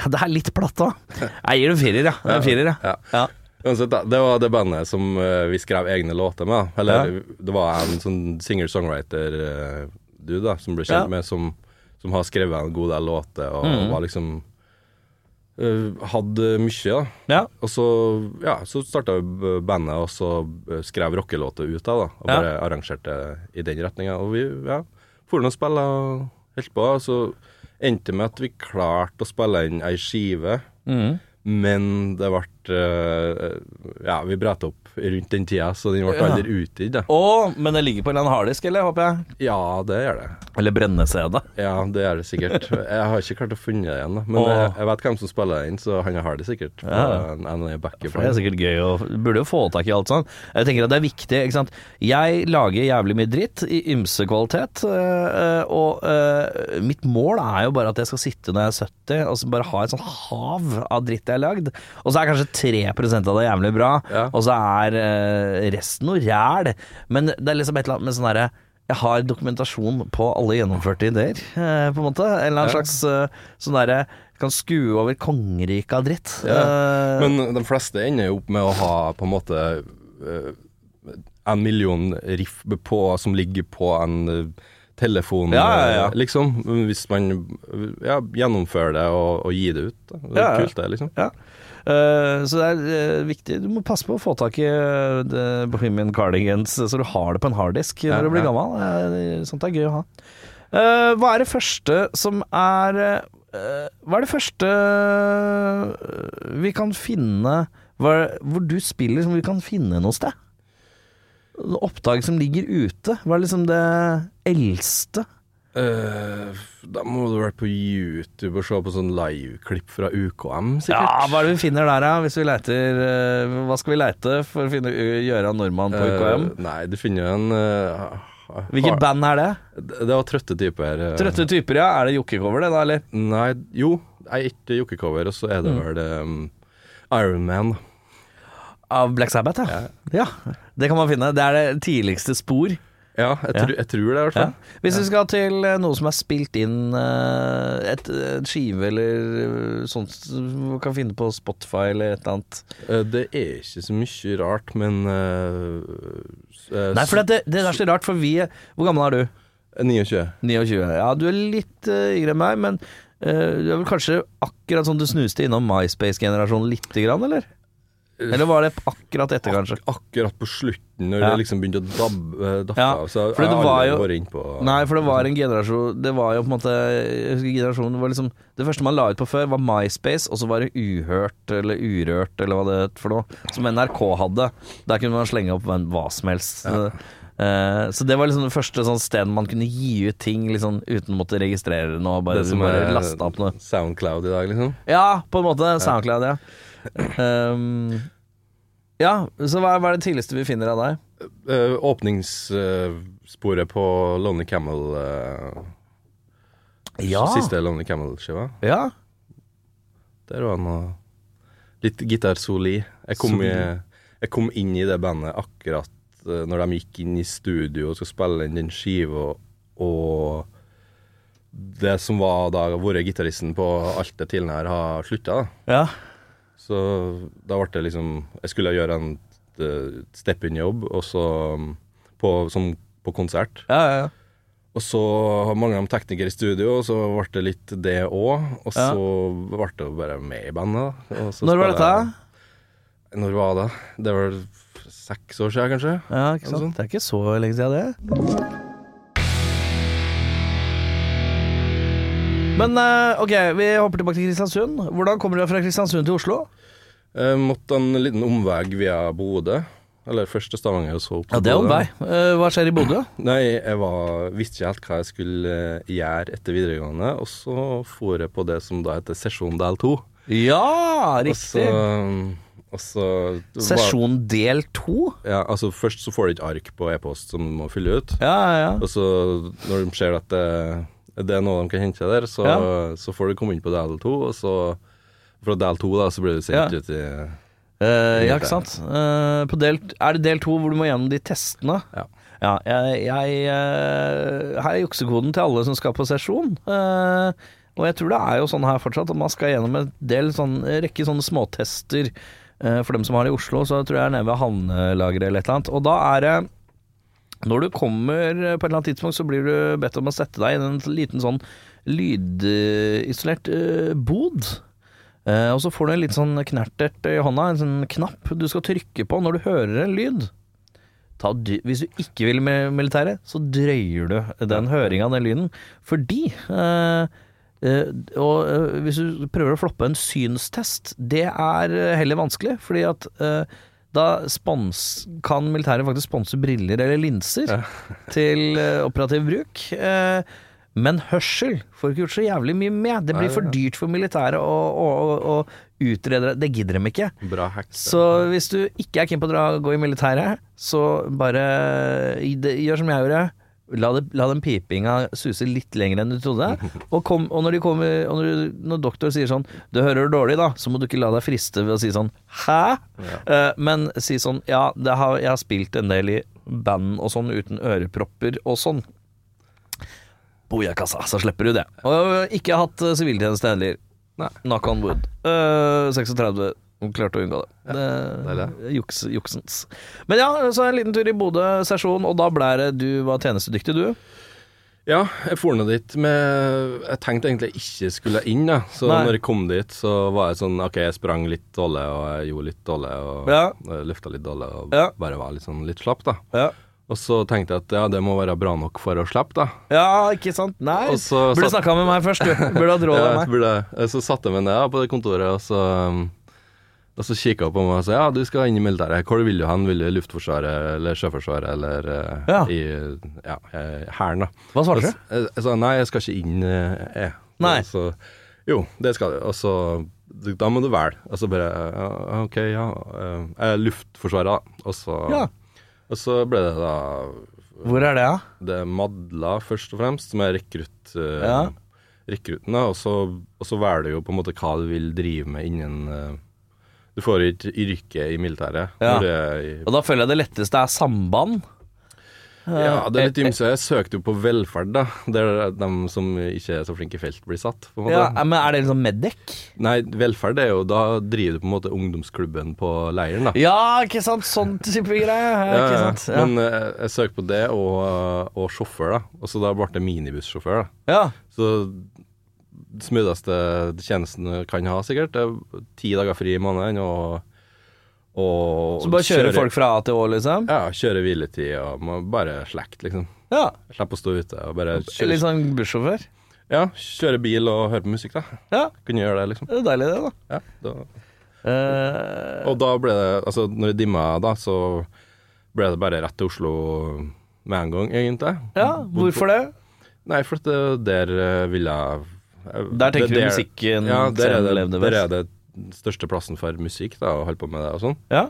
[SPEAKER 2] Ja, det er litt platt, da. Jeg gir det en firer, ja. Det er En firer, ja.
[SPEAKER 3] Ja.
[SPEAKER 2] ja.
[SPEAKER 3] Uansett, da, det var det bandet som eh, vi skrev egne låter med. da. Eller det var en sånn singer-songwriter-du da, som ble kjent
[SPEAKER 2] Ja. Mm.
[SPEAKER 3] med, som, som har skrevet en god del låter, og var liksom eh, Hadde mye, da.
[SPEAKER 2] ja.
[SPEAKER 3] Og så, ja, så starta bandet, og så eh, skrev rockelåter ut av det. Og
[SPEAKER 2] Ja.
[SPEAKER 3] bare arrangerte i den retninga. Og vi ja, for nå og spille og holdt på. Og så endte det med at vi klarte å spille inn ei skive,
[SPEAKER 2] Mm.
[SPEAKER 3] men det ble eh, Ja, vi bretta opp rundt den tida, så den ble
[SPEAKER 2] Ja.
[SPEAKER 3] aldri utgitt. da.
[SPEAKER 2] Å, men det ligger på en eller annen harddisk, eller? Håper jeg.
[SPEAKER 3] Ja, det gjør det.
[SPEAKER 2] Eller brenne-CD.
[SPEAKER 3] Ja, det gjør det sikkert. Jeg har ikke klart å finne det igjen, da. Men
[SPEAKER 2] Åh.
[SPEAKER 3] jeg, jeg vet hvem som spiller den, så han har det sikkert. på
[SPEAKER 2] Ja.
[SPEAKER 3] En, en backup.
[SPEAKER 2] For det er sikkert gøy å Burde jo få tak i alt sånn. Jeg tenker at det er viktig, ikke sant. Jeg lager jævlig mye dritt i ymse kvalitet, øh, øh, og øh, mitt mål er jo bare at jeg skal sitte når jeg er 70 og så bare ha et sånn hav av dritt jeg har lagd. Og så er kanskje 3 av det jævlig bra,
[SPEAKER 3] Ja.
[SPEAKER 2] og så er øh, resten noe ræl. Men det er liksom et eller annet med sånn herre jeg har dokumentasjon på alle gjennomførte ideer, eh, på en måte. En eller annen slags eh, sånn derre Kan skue over kongeriket av dritt. Eh,
[SPEAKER 3] Men de fleste ender jo opp med å ha på en måte eh, en million riff på, som ligger på en eh, telefon,
[SPEAKER 2] Ja, ja, ja.
[SPEAKER 3] eh, liksom. Hvis man eh, ja, gjennomfører det og, og gir det ut. Da. Det er
[SPEAKER 2] Ja, ja.
[SPEAKER 3] kult, det, liksom.
[SPEAKER 2] Ja. Eh, så det er eh, viktig. Du må passe på å få tak i eh, det Bohemian Cardigans, så du har det på en harddisk
[SPEAKER 3] Ja,
[SPEAKER 2] når du blir
[SPEAKER 3] ja.
[SPEAKER 2] gammel. Eh, sånt er gøy å ha. Eh, hva er det første som er eh, Hva er det første eh, vi kan finne hva, Hvor du spiller som vi kan finne noe sted? Oppdrag som ligger ute. Hva er liksom det eldste?
[SPEAKER 3] Eh, da må du være på YouTube og se på sånn liveklipp fra UKM, sikkert.
[SPEAKER 2] Ja, hva er det vi finner der, da? Hvis vi leter eh, Hva skal vi lete for å finne Gøran Normann på UKM?
[SPEAKER 3] Eh, nei, du finner jo en eh, ha-
[SPEAKER 2] Hvilket band er det?
[SPEAKER 3] Det var trøtte typer. eh.
[SPEAKER 2] Trøtte typer, ja. Er det jokkecover, det da, eller?
[SPEAKER 3] Nei, jo. Ei ikke jokkecover, og så er det vel um, Iron Man.
[SPEAKER 2] Av Black Sabbath, ja. ja. Det kan man finne. Det er det tidligste spor.
[SPEAKER 3] Ja, jeg, Tror, jeg tror det, i hvert
[SPEAKER 2] Ja.
[SPEAKER 3] fall.
[SPEAKER 2] Hvis vi skal til eh, noe som er spilt inn eh, et, et skive eller eh, sånt som man kan finne på Spotify eller et eller annet
[SPEAKER 3] Eh, Det er ikke så mye rart, men eh, eh,
[SPEAKER 2] Nei, for det, det er så rart, for vi eh, Hvor gammel er du?
[SPEAKER 3] 29.
[SPEAKER 2] 29. Ja, du er litt eh, yngre enn meg, men eh, du er vel kanskje akkurat sånn du snuste innom MySpace-generasjonen lite grann, eller? Eller var det akkurat etter, kanskje?
[SPEAKER 3] Akkurat på slutten, når
[SPEAKER 2] Ja.
[SPEAKER 3] det liksom begynte å dabbe eh, daffe
[SPEAKER 2] Ja,
[SPEAKER 3] av. Så
[SPEAKER 2] for det
[SPEAKER 3] jeg har
[SPEAKER 2] var
[SPEAKER 3] aldri
[SPEAKER 2] jo-
[SPEAKER 3] vært innpå
[SPEAKER 2] Nei, for det var en generasjon Det var jo på en måte jeg husker generasjonen var liksom, Det første man la ut på før, var MySpace, og så var det Uhørt eller Urørt eller hva det het for noe, som NRK hadde. Der kunne man slenge opp hvem- hva som helst. Eh, så det var liksom det første sånn stedet man kunne gi ut ting liksom, uten å måtte registrere noe. Bare,
[SPEAKER 3] det som
[SPEAKER 2] bare
[SPEAKER 3] er
[SPEAKER 2] laste opp noe.
[SPEAKER 3] Soundcloud i dag, liksom.
[SPEAKER 2] Ja, på en måte. SoundCloud, ja. Um, ja, så hva, hva er det tidligste vi finner av deg?
[SPEAKER 3] Eh, åpningssporet på Lonely Camel eh, Siste Lonely Camel-skiva.
[SPEAKER 2] Ja.
[SPEAKER 3] Der var noe litt gitarsoli. Jeg kom, i, jeg kom inn i det bandet akkurat eh, når de gikk inn i studio og skulle spille inn den skiva, og det som var da vært gitaristen på alt det tidligere, har slutta.
[SPEAKER 2] ja.
[SPEAKER 3] Så da ble det liksom Jeg skulle gjøre en eh, step in-jobb, og så mm, på, som, på konsert.
[SPEAKER 2] Ja, ja, ja.
[SPEAKER 3] Og så har mange av dem teknikere i studio, og så ble det litt det òg. Og
[SPEAKER 2] Ja.
[SPEAKER 3] så ble det jo bare med i bandet. da. Og så
[SPEAKER 2] Når var
[SPEAKER 3] spiller
[SPEAKER 2] dette?
[SPEAKER 3] jeg- Når var det? Det var seks år siden, kanskje.
[SPEAKER 2] Ja, ikke
[SPEAKER 3] Noe
[SPEAKER 2] sant?
[SPEAKER 3] sånt.
[SPEAKER 2] Det er ikke så lenge siden det. Men eh, ok, vi hopper tilbake til Kristiansund. Hvordan kommer dere fra Kristiansund til Oslo?
[SPEAKER 3] Jeg Eh, måtte en liten omvei via Bodø. Eller først til Stavanger, og så opp til Bodø.
[SPEAKER 2] Eh, hva skjer i Bodø?
[SPEAKER 3] Nei, jeg var, visste ikke helt hva jeg skulle eh, gjøre etter videregående, og så for jeg på det som da heter sesjon del to.
[SPEAKER 2] Ja,
[SPEAKER 3] Og så,
[SPEAKER 2] riktig.
[SPEAKER 3] um, Og så
[SPEAKER 2] Sesjon del to?
[SPEAKER 3] Ja, altså Først så får du ikke ark på e-post som du må fylle ut.
[SPEAKER 2] Ja, ja, ja.
[SPEAKER 3] Og så når de ser at det, det er noe de kan hente der, så,
[SPEAKER 2] Ja.
[SPEAKER 3] så får du komme inn på del 2, og så fra del 2 da, så blir du sendt
[SPEAKER 2] Ja.
[SPEAKER 3] ut i
[SPEAKER 2] Eh, ja,
[SPEAKER 3] Helt
[SPEAKER 2] ikke sant. Eh, på del, er det del to hvor du må gjennom de testene?
[SPEAKER 3] Ja.
[SPEAKER 2] Ja, jeg, jeg, eh, her er juksekoden til alle som skal på sesjon. Eh, og jeg tror det er jo sånn her fortsatt, at man skal gjennom en del sånn, en rekke sånne småtester. Eh, for dem som har det i Oslo, så tror jeg er nede ved havnelageret eller et eller annet. Og da er det når du kommer eh, på et eller annet tidspunkt, så blir du bedt om å sette deg i en liten sånn lydisolert eh, bod. Eh, og så får du en liten sånn knertert i hånda, en sånn knapp du skal trykke på når du hører en lyd. Ta, dy- hvis du ikke vil med militæret, så drøyer du den høringa, den lyden. Fordi eh, eh, Og eh, hvis du prøver å floppe en synstest, det er eh, heller vanskelig, fordi at eh, da spons, kan militæret faktisk sponse briller eller linser til eh, operativ bruk. Eh, men hørsel får ikke gjort så jævlig mye med. Det blir for dyrt for militæret å, å, å, å utrede det. Det gidder dem ikke.
[SPEAKER 3] Bra hack. da.
[SPEAKER 2] Så hvis du ikke er keen på å dra, gå i militæret, så bare i det- gjør som jeg gjorde. La, det, la den pipinga suse litt lenger enn du trodde. Og, kom, og når, de kommer, og når, når doktor sier sånn 'Du hører dårlig', da, så må du ikke la deg friste ved å si sånn 'hæ?' Eh, men si sånn 'ja, det har, jeg har spilt en del i band og sånn uten ørepropper og sånn'. Bojakassa, så slipper du det. Og ikke hatt eh, siviltjeneste heller.
[SPEAKER 3] Nei.
[SPEAKER 2] Knock on wood. Eh, 36. Hun klarte å unngå det. det
[SPEAKER 3] deilig.
[SPEAKER 2] er juks, juksens. Men ja, så en liten tur i Bodø sesjon, og da ble det du var tjenestedyktig, du.
[SPEAKER 3] Ja, jeg for nå dit med Jeg tenkte egentlig jeg ikke skulle inn, da. Så
[SPEAKER 2] Nei.
[SPEAKER 3] når jeg kom dit, så var jeg sånn OK, jeg sprang litt dårlig, og jeg gjorde litt dårlig, og
[SPEAKER 2] Ja.
[SPEAKER 3] jeg løfta litt dårlig, og
[SPEAKER 2] Ja.
[SPEAKER 3] bare var litt sånn litt slapp, da.
[SPEAKER 2] Ja,
[SPEAKER 3] Og så tenkte jeg at ja, det må være bra nok for å slippe, da.
[SPEAKER 2] ikke sant? Nei.
[SPEAKER 3] Og så
[SPEAKER 2] Burde
[SPEAKER 3] satt-
[SPEAKER 2] snakka med meg først, du. Burde hatt råd av
[SPEAKER 3] Ja,
[SPEAKER 2] meg.
[SPEAKER 3] burde, jeg. så satte jeg meg ned da, på det kontoret, og så, um, og så kikka hun på meg og sa ja, du skal inn i militæret. Hvor vil du hen? Vil du i Luftforsvaret eller Sjøforsvaret eller eh,
[SPEAKER 2] Ja.
[SPEAKER 3] i ja, eh, Hæren, da.
[SPEAKER 2] Hva svarte
[SPEAKER 3] Jeg,
[SPEAKER 2] du?
[SPEAKER 3] jeg, jeg sa nei, jeg skal ikke inn, eh, jeg.
[SPEAKER 2] Nei.
[SPEAKER 3] Og Så, jo, det skal du. Og så da må du velge. Og så bare ja, OK, ja. eh, eh, Luftforsvaret, da. Og så,
[SPEAKER 2] Ja.
[SPEAKER 3] og så ble det da
[SPEAKER 2] Hvor er det, da?
[SPEAKER 3] det er Madla først og fremst, som er rekrutt, eh,
[SPEAKER 2] Ja.
[SPEAKER 3] rekrutten. da, Og så, og så velger du jo på en måte hva du vil drive med innen eh, Du får jo ikke yrke i militæret.
[SPEAKER 2] Ja.
[SPEAKER 3] når du er i-
[SPEAKER 2] Og da føler jeg det letteste er samband.
[SPEAKER 3] ja, det er litt ymse. Jeg søkte jo på velferd, da. Der de som ikke er så flinke i felt, blir satt. på en måte.
[SPEAKER 2] Ja, men er det liksom Meddek?
[SPEAKER 3] Nei, velferd er jo Da driver du på en måte ungdomsklubben på leiren, da.
[SPEAKER 2] Ja, ikke sant? Sånn type greie. Ja, ikke sant? Ja.
[SPEAKER 3] Men eh, jeg søkte på det og, og sjåfør, da. Og så da ble det minibussjåfør, da.
[SPEAKER 2] ja.
[SPEAKER 3] Så smidigste tjenesten du kan ha, sikkert, det er ti dager fri i måneden og, og
[SPEAKER 2] Så bare kjøre folk fra A til Å, liksom?
[SPEAKER 3] Ja, kjøre hviletid og må bare slekt, liksom.
[SPEAKER 2] Ja.
[SPEAKER 3] Slippe å stå ute og bare kjøre,
[SPEAKER 2] Litt sånn bussjåfør.
[SPEAKER 3] ja, kjøre bil og høre på musikk, da.
[SPEAKER 2] Ja,
[SPEAKER 3] Kunne gjøre det, liksom.
[SPEAKER 2] det er deilig, det, da.
[SPEAKER 3] Ja, da.
[SPEAKER 2] Eh,
[SPEAKER 3] Og da ble det Altså, når det dimma, da, så ble det bare rett til Oslo med en gang, egentlig.
[SPEAKER 2] ja, hvorfor det?
[SPEAKER 3] Nei, for at det- der eh, ville jeg
[SPEAKER 2] Der tenker
[SPEAKER 3] det-
[SPEAKER 2] du musikken
[SPEAKER 3] Ja, der
[SPEAKER 2] scenen
[SPEAKER 3] er,
[SPEAKER 2] levde
[SPEAKER 3] det, der
[SPEAKER 2] best.
[SPEAKER 3] er det største plassen for musikk, da, å holde på med det og sånn.
[SPEAKER 2] Ja.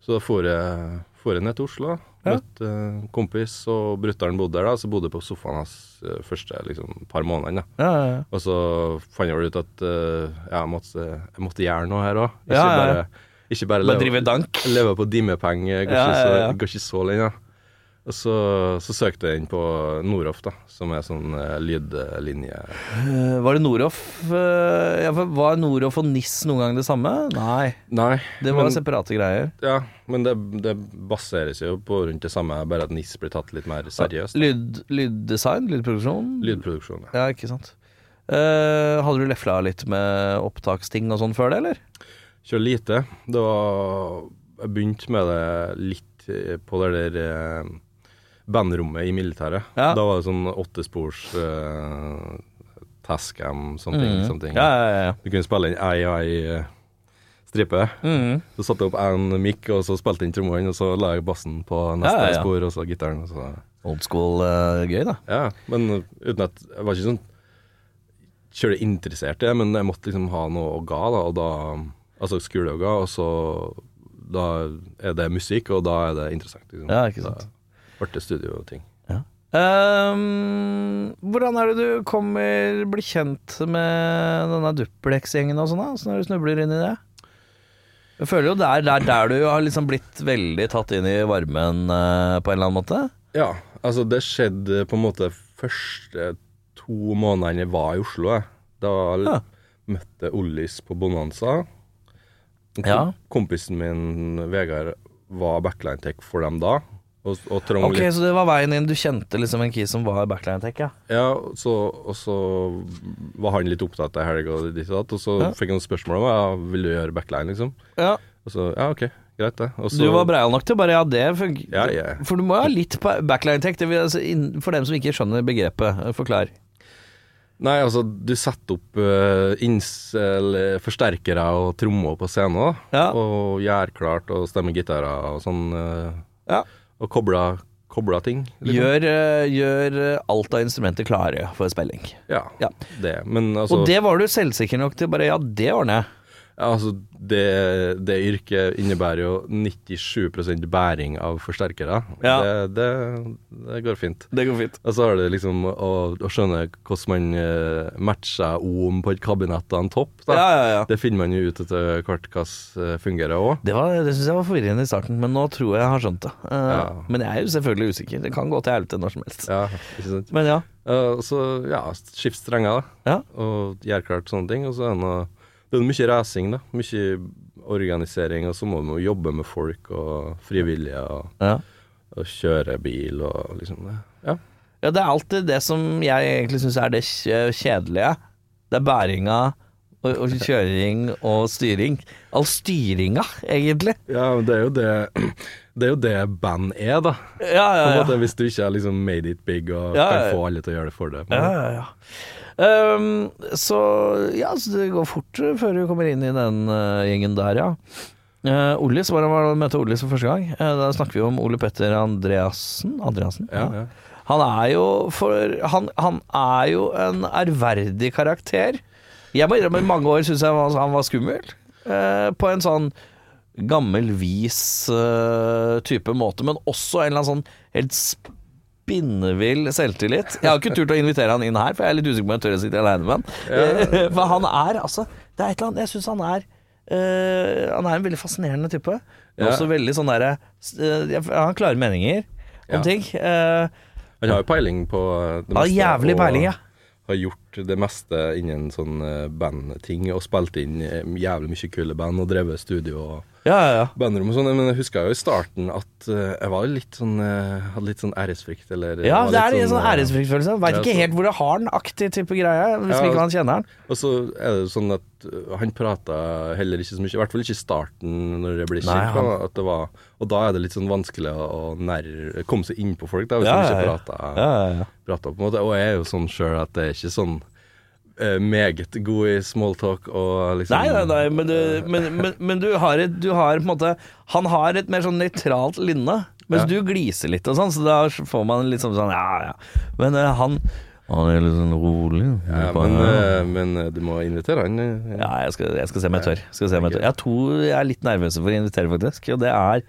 [SPEAKER 3] Så da for jeg, for jeg ned til Oslo,
[SPEAKER 2] Ja.
[SPEAKER 3] møtte en kompis, og brutter'n bodde der, da, så bodde jeg på sofaen hans eh, første liksom, par månedene. da.
[SPEAKER 2] Ja, ja, ja.
[SPEAKER 3] Og så fant jeg vel ut at eh, ja, jeg, måtte, jeg måtte gjøre noe her òg.
[SPEAKER 2] Ja,
[SPEAKER 3] Ikke,
[SPEAKER 2] ja, ja.
[SPEAKER 3] bare, ikke bare
[SPEAKER 2] Bare
[SPEAKER 3] leve,
[SPEAKER 2] drive dank.
[SPEAKER 3] leve på dimmepenger, går,
[SPEAKER 2] Ja,
[SPEAKER 3] ikke
[SPEAKER 2] ja,
[SPEAKER 3] så-
[SPEAKER 2] ja.
[SPEAKER 3] går ikke så lenge. da. Og så, så søkte jeg inn på Noroff, da, som er sånn eh, lydlinje...
[SPEAKER 2] Eh, var det Noroff eh, ja, for Var Noroff og NIS noen gang det samme? Nei.
[SPEAKER 3] Nei.
[SPEAKER 2] Det var
[SPEAKER 3] men-
[SPEAKER 2] separate greier.
[SPEAKER 3] Ja, men det, det baseres jo på rundt det samme, bare at NIS blir tatt litt mer seriøst.
[SPEAKER 2] Lyd, lyddesign? Lydproduksjon?
[SPEAKER 3] Lydproduksjon. ja.
[SPEAKER 2] Ja, ikke sant. Eh, hadde du lefla litt med opptaksting og sånn før det, eller?
[SPEAKER 3] Kjør lite. Det var Jeg begynte med det litt eh, på det der eh, bandrommet i militæret.
[SPEAKER 2] Ja.
[SPEAKER 3] Da var det sånn åttespors eh, Tascam, something, something.
[SPEAKER 2] Mm. Ja, ja, ja.
[SPEAKER 3] Du kunne spille inn ei og ei eh, stripe.
[SPEAKER 2] Mm.
[SPEAKER 3] Så satte jeg opp én mic, og så spilte jeg inn trommene, og så la jeg bassen på neste
[SPEAKER 2] Ja, ja, ja.
[SPEAKER 3] spor, og så gitaren, og så
[SPEAKER 2] Old school eh, gøy, da.
[SPEAKER 3] Ja, men uten at Jeg var ikke sånn kjølig interessert i det, men jeg måtte liksom ha noe å ga, da, og da altså skuleunger, og så da er det musikk, og da er det interessant. Liksom.
[SPEAKER 2] Ja, ikke sant.
[SPEAKER 3] Da- Artig studioting.
[SPEAKER 2] Ehm, hvordan er det du kommer blir kjent med denne Duplex-gjengen og sånn, da? Åssen er det du snubler inn i det? Jeg føler jo det er der, der du har liksom blitt veldig tatt inn i varmen eh, på en eller annen måte.
[SPEAKER 3] Ja, altså det skjedde på en måte første to månedene jeg var i Oslo. Jeg. Da
[SPEAKER 2] Ja.
[SPEAKER 3] møtte Ollis på Bonanza. Kom,
[SPEAKER 2] Ja.
[SPEAKER 3] Kompisen min, Vegard, var backline tech for dem da. Og, og trang
[SPEAKER 2] Ok,
[SPEAKER 3] litt
[SPEAKER 2] Så det var veien inn. Du kjente liksom en kis som var i Backline Tech, ja.
[SPEAKER 3] Ja, så, og så var han litt opptatt ei helg og ditt og datt, og så
[SPEAKER 2] Ja.
[SPEAKER 3] fikk han spørsmål om ja, vil du gjøre backline, liksom.
[SPEAKER 2] ja.
[SPEAKER 3] Og så ja, OK, greit det. Og så,
[SPEAKER 2] Du var breial nok til bare ja, det funker.
[SPEAKER 3] Ja, ja.
[SPEAKER 2] For du må jo ha litt pa- Backline Tech, det vil, altså, inn- for dem som ikke skjønner begrepet. eh, Forklar.
[SPEAKER 3] Nei, altså, du setter opp eh, inns, eller forsterkere og trommer på scenen, da.
[SPEAKER 2] Ja.
[SPEAKER 3] Og gjør klart og stemmer gitarer og sånn. eh,
[SPEAKER 2] Ja.
[SPEAKER 3] Og kobler, kobler ting. liksom.
[SPEAKER 2] Gjør, eh, gjør eh, alt av instrumenter klare for spilling.
[SPEAKER 3] Ja,
[SPEAKER 2] Ja.
[SPEAKER 3] det. Men altså,
[SPEAKER 2] Og
[SPEAKER 3] det,
[SPEAKER 2] det var du selvsikker nok til bare ja, det ordner jeg.
[SPEAKER 3] altså det, det yrket innebærer jo 97 bæring av forsterkere.
[SPEAKER 2] Ja.
[SPEAKER 3] Det, det, det går fint.
[SPEAKER 2] Det går fint.
[SPEAKER 3] Og så har du liksom å, å skjønne hvordan man eh, matcher om på et kabinett av en topp. Da.
[SPEAKER 2] Ja, ja, ja.
[SPEAKER 3] Det finner man jo ut etter hvert hvordan eh, fungerer òg.
[SPEAKER 2] Det, var- det syns jeg var forvirrende i starten, men nå tror jeg jeg har skjønt det. Eh,
[SPEAKER 3] Ja.
[SPEAKER 2] Men jeg er jo selvfølgelig usikker. Det kan gå til helvete når som helst.
[SPEAKER 3] Ja, ikke sant.
[SPEAKER 2] Men ja.
[SPEAKER 3] Eh, så ja, skift strenger, da.
[SPEAKER 2] Ja.
[SPEAKER 3] Og gjør klart sånne ting. Og så er det noe Det er mye racing, da. Mye organisering, og så må man jo jobbe med folk og frivillige, og,
[SPEAKER 2] ja.
[SPEAKER 3] og kjøre bil og liksom det. Ja.
[SPEAKER 2] Ja, det er alltid det som jeg egentlig syns er det kj- kjedelige. Det er bæringa og, og kjøring og styring. All styringa, egentlig.
[SPEAKER 3] ja, men det er jo det Det er jo det band er, da.
[SPEAKER 2] Ja,
[SPEAKER 3] På
[SPEAKER 2] ja,
[SPEAKER 3] en
[SPEAKER 2] ja.
[SPEAKER 3] måte, hvis du ikke har liksom made it big og
[SPEAKER 2] Ja, ja, ja.
[SPEAKER 3] kan få alle til å gjøre det for deg.
[SPEAKER 2] ja, ja, ja. Ehm, så ja, så det går fort eh, før du kommer inn i den eh, gjengen der, ja. Uh, Ollis, hvordan var det å møte Ollis for første gang? Eh, da snakker vi om Ole Petter Andreassen. Andreassen?
[SPEAKER 3] Ja, ja.
[SPEAKER 2] Han er jo for Han, han er jo en ærverdig karakter. Jeg må innrømme, i mange år syntes jeg han var, han var skummel. Eh, på en sånn gammel, vis eh, type måte, men også en eller annen sånn helt spinnevill selvtillit. Jeg har ikke turt å invitere han inn her, for jeg er litt usikker på om jeg tør å sitte aleine med han. Eh, for han er altså Det er et eller annet Jeg syns han er eh, Han er en veldig fascinerende type. Men
[SPEAKER 3] Ja.
[SPEAKER 2] også veldig sånn derre eh, jeg- Han har klare meninger om
[SPEAKER 3] Ja.
[SPEAKER 2] ting. Eh,
[SPEAKER 3] Han har jo peiling på eh, det
[SPEAKER 2] han har jævlig
[SPEAKER 3] og
[SPEAKER 2] peiling, ja.
[SPEAKER 3] Har gjort det meste innen sånn eh, bandting, og spilt inn eh, jævlig mye kule band, og drevet studio og
[SPEAKER 2] Ja, ja, ja.
[SPEAKER 3] bandrom og sånn, men jeg huska jo i starten at eh, jeg var jo litt sånn eh, Hadde litt sånn æresfrykt, eller
[SPEAKER 2] Ja,
[SPEAKER 3] var
[SPEAKER 2] det er
[SPEAKER 3] litt
[SPEAKER 2] en sånn
[SPEAKER 3] eh,
[SPEAKER 2] æresfryktfølelse. Veit
[SPEAKER 3] ja,
[SPEAKER 2] ikke
[SPEAKER 3] så-
[SPEAKER 2] helt hvor jeg har den, aktig type greie, hvis
[SPEAKER 3] Ja,
[SPEAKER 2] vi ikke
[SPEAKER 3] og-
[SPEAKER 2] han kjenner den.
[SPEAKER 3] Og så er det jo sånn at eh, han prata heller ikke så mye, i hvert fall ikke i starten når jeg ble
[SPEAKER 2] Nei,
[SPEAKER 3] kjent. da, at det var- Og da er det litt sånn vanskelig å å nær, komme seg innpå folk, da, hvis
[SPEAKER 2] Ja,
[SPEAKER 3] man
[SPEAKER 2] ja,
[SPEAKER 3] ikke
[SPEAKER 2] ja.
[SPEAKER 3] prater
[SPEAKER 2] Ja,
[SPEAKER 3] prata på en måte. Og jeg er jo sånn sjøl at det er ikke sånn eh, meget god i smalltalk og liksom
[SPEAKER 2] Nei, nei, nei, men du, men, men, men du har et Du har på en måte Han har et mer sånn nøytralt lynne, mens
[SPEAKER 3] Ja.
[SPEAKER 2] du gliser litt og sånn, så da får man liksom sånn ja, ja. Men eh, han Han er litt sånn rolig.
[SPEAKER 3] Ja, men, eh, men eh, du må invitere han. eh,
[SPEAKER 2] Ja, jeg skal, jeg skal se om jeg tør. Skal se om jeg, tør. jeg har to jeg er litt nervøse for å invitere, faktisk. Og det er,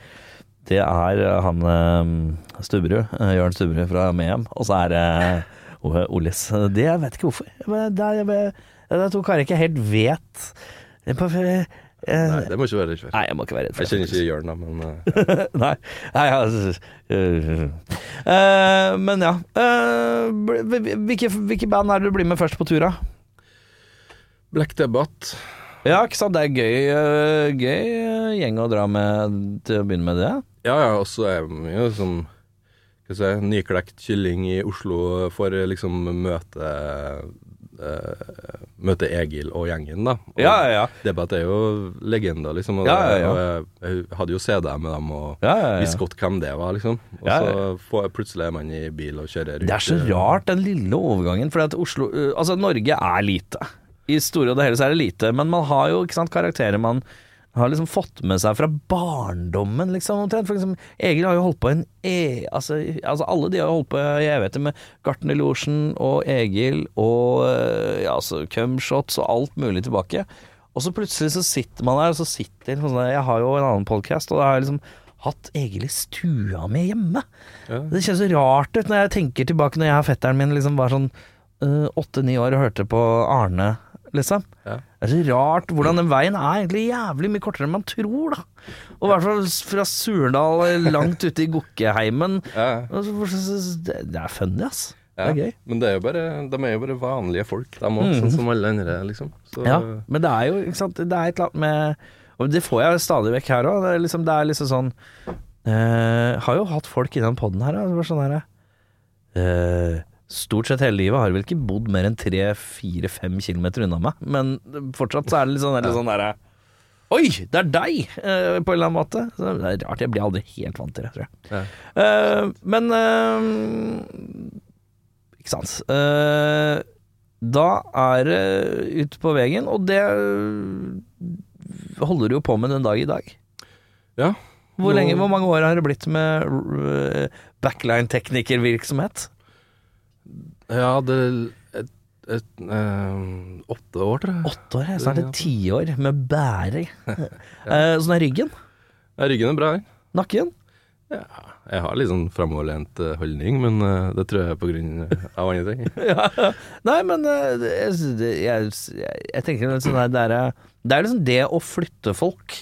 [SPEAKER 2] det er eh, han eh, Stubberud, eh, Jørn Stubberud fra Mehamn, og så er det eh, Ollis. Det jeg vet ikke hvorfor. Men det er, det er to karer jeg ikke helt vet Jeg bare- eh,
[SPEAKER 3] Nei, det må ikke være redd for.
[SPEAKER 2] Nei, jeg må ikke være redd for
[SPEAKER 3] Jeg
[SPEAKER 2] det.
[SPEAKER 3] kjenner ikke Jørn, da, men eh,
[SPEAKER 2] Nei, nei altså, øh, øh, Men ja. Eh, bl- hvilke, hvilke band er det du blir med først på tur, da?
[SPEAKER 3] Black Debate
[SPEAKER 2] Ja, ikke sant. Det er gøy, øh, gøy øh, gjeng å dra med til å begynne med det.
[SPEAKER 3] Ja, ja, og så er vi jo sånn Hva skal jeg si Nyklekt kylling i Oslo for eh, liksom møte eh, Møte Egil og gjengen, da. Og
[SPEAKER 2] Ja, ja, ja.
[SPEAKER 3] Debatt er jo legender, liksom. Og,
[SPEAKER 2] Ja, ja, ja.
[SPEAKER 3] og jeg, jeg hadde jo CD med dem og
[SPEAKER 2] Ja, ja, ja.
[SPEAKER 3] visste godt hvem det var, liksom. Og
[SPEAKER 2] Ja, ja,
[SPEAKER 3] så får jeg plutselig er man i bil og kjører rundt. eh,
[SPEAKER 2] Det er så rart, den lille overgangen. For at Oslo øh, Altså, Norge er lite. I store og det hele så er det lite, men man har jo ikke sant, karakterer man har liksom fått med seg fra barndommen, liksom, omtrent. For eksempel, Egil har jo holdt på en e... Altså, altså alle de har jo holdt på i evigheter med Gartnerlosjen og Egil og øh, ja, altså Cumshots og alt mulig tilbake. Og så plutselig så sitter man der, og så sitter liksom sånn Jeg har jo en annen podkast, og da har jeg liksom hatt egentlig stua mi hjemme.
[SPEAKER 3] Ja.
[SPEAKER 2] Det kjennes så rart ut når jeg tenker tilbake når jeg og fetteren min liksom var sånn åtte-ni år og hørte på Arne, liksom.
[SPEAKER 3] Ja.
[SPEAKER 2] Det er så rart hvordan den veien er egentlig jævlig mye kortere enn man tror, da. Og i hvert fall fra Surdal langt ute i Gokkeheimen.
[SPEAKER 3] Ja.
[SPEAKER 2] Og så- så- så- Det det er funny, ass. Det
[SPEAKER 3] Ja.
[SPEAKER 2] er gøy. Mm.
[SPEAKER 3] Men det er jo bare, de er jo bare vanlige folk, de òg, sånn som alle andre, liksom. Så,
[SPEAKER 2] Ja, men det er jo ikke sant, Det er et eller annet med Og det får jeg stadig vekk her òg. Det, er liksom, det er liksom sånn eh, Har jo hatt folk i den poden her, da, som er sånn her eh, Stort sett hele livet har vel ikke bodd mer enn 3-4-5 km unna meg, men fortsatt så er det litt sånn, litt sånn derre Oi, det er deg! eh, på en eller annen måte. Så det er rart, jeg blir aldri helt vant til det, tror jeg.
[SPEAKER 3] Ja.
[SPEAKER 2] Eh, men eh, Ikke sant. Eh, da er det ut på veien, og det holder du jo på med den dag i dag.
[SPEAKER 3] ja.
[SPEAKER 2] Hvor,
[SPEAKER 3] Nå-
[SPEAKER 2] lenge, hvor mange år har det blitt med eh, backline-teknikervirksomhet?
[SPEAKER 3] Ja, det er et, et, eh, åtte år, tror jeg.
[SPEAKER 2] Åtte år, jeg. snart et tiår med bære. Eh, Sånn er ryggen,
[SPEAKER 3] Ja, Ryggen er bra, den.
[SPEAKER 2] nakken.
[SPEAKER 3] Ja. Jeg har litt sånn framoverlent eh, holdning, men eh, det tror jeg er på grunn av andre ting.
[SPEAKER 2] Nei, men eh, det- jeg, det- jeg, jeg, jeg tenker litt sånn her, det er, det er liksom det å flytte folk.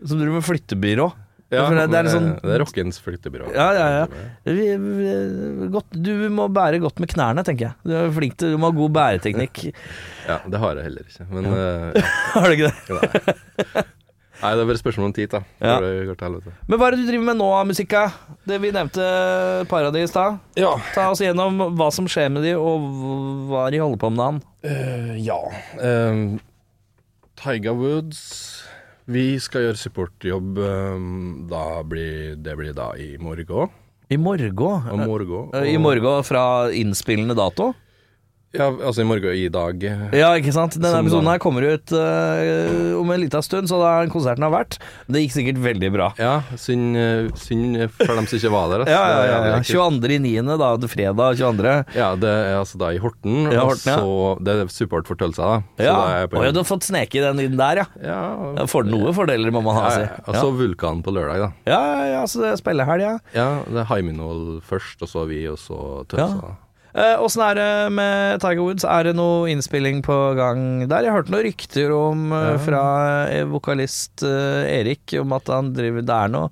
[SPEAKER 2] Som driver med flyttebyrå.
[SPEAKER 3] Ja,
[SPEAKER 2] For det- det er liksom-
[SPEAKER 3] eh, det er rockens flyttebyrå.
[SPEAKER 2] Ja, ja, ja. Vi- vi- Godt, du må bære godt med knærne, tenker jeg. Du er flink til Du må ha god bæreteknikk.
[SPEAKER 3] Ja, det har jeg heller ikke, men eh,
[SPEAKER 2] Har du ikke det?
[SPEAKER 3] ja, nei. nei, det er bare spørsmål om tid, da.
[SPEAKER 2] Ja.
[SPEAKER 3] For det går til helvete.
[SPEAKER 2] Men hva er det du driver med nå av musikka? Det vi nevnte eh, Paradis da.
[SPEAKER 3] Ja,
[SPEAKER 2] Ta oss gjennom hva som skjer med de, og hva de holder på med dagen.
[SPEAKER 3] Eh, ja. Eh, Tiger Woods Vi skal gjøre supportjobb. eh, da blir, det blir da i morgen.
[SPEAKER 2] I morgen.
[SPEAKER 3] Og morgen
[SPEAKER 2] Eh, I
[SPEAKER 3] og-
[SPEAKER 2] morgen fra innspillende dato?
[SPEAKER 3] Ja, altså i morgen i dag. eh,
[SPEAKER 2] Ja, ikke sant. Denne
[SPEAKER 3] Som
[SPEAKER 2] episoden
[SPEAKER 3] da-
[SPEAKER 2] her kommer ut eh, om en liten stund, så da er konserten har vært. Det gikk sikkert veldig bra.
[SPEAKER 3] Ja, synd, eh, synd for dem som ikke var der. ass.
[SPEAKER 2] Ja, ja,
[SPEAKER 3] Det er
[SPEAKER 2] ja. ja.
[SPEAKER 3] jævlig ekkelt.
[SPEAKER 2] 22.9., da. Fredag 22.
[SPEAKER 3] Ja, det er altså da i Horten.
[SPEAKER 2] Ja,
[SPEAKER 3] og
[SPEAKER 2] Horten, ja.
[SPEAKER 3] så Det er support for Tølsa, da. Så
[SPEAKER 2] Ja.
[SPEAKER 3] da er jeg på
[SPEAKER 2] Å, ja, du har fått sneke i den inn der, ja.
[SPEAKER 3] ja,
[SPEAKER 2] Ja, For noe fordeler må man ha,
[SPEAKER 3] ja,
[SPEAKER 2] si.
[SPEAKER 3] ja. Og så Vulkan på lørdag, da.
[SPEAKER 2] Ja, ja, ja, så det er spillehelg, ja.
[SPEAKER 3] Ja, det er Haiminol først, og så vi, og så Tølsa.
[SPEAKER 2] Ja. Eh, Åssen er det med Tiger Woods? Er det noe innspilling på gang der? Jeg hørte noen rykter om eh, fra eh, vokalist eh, Erik om at han driver Det er noe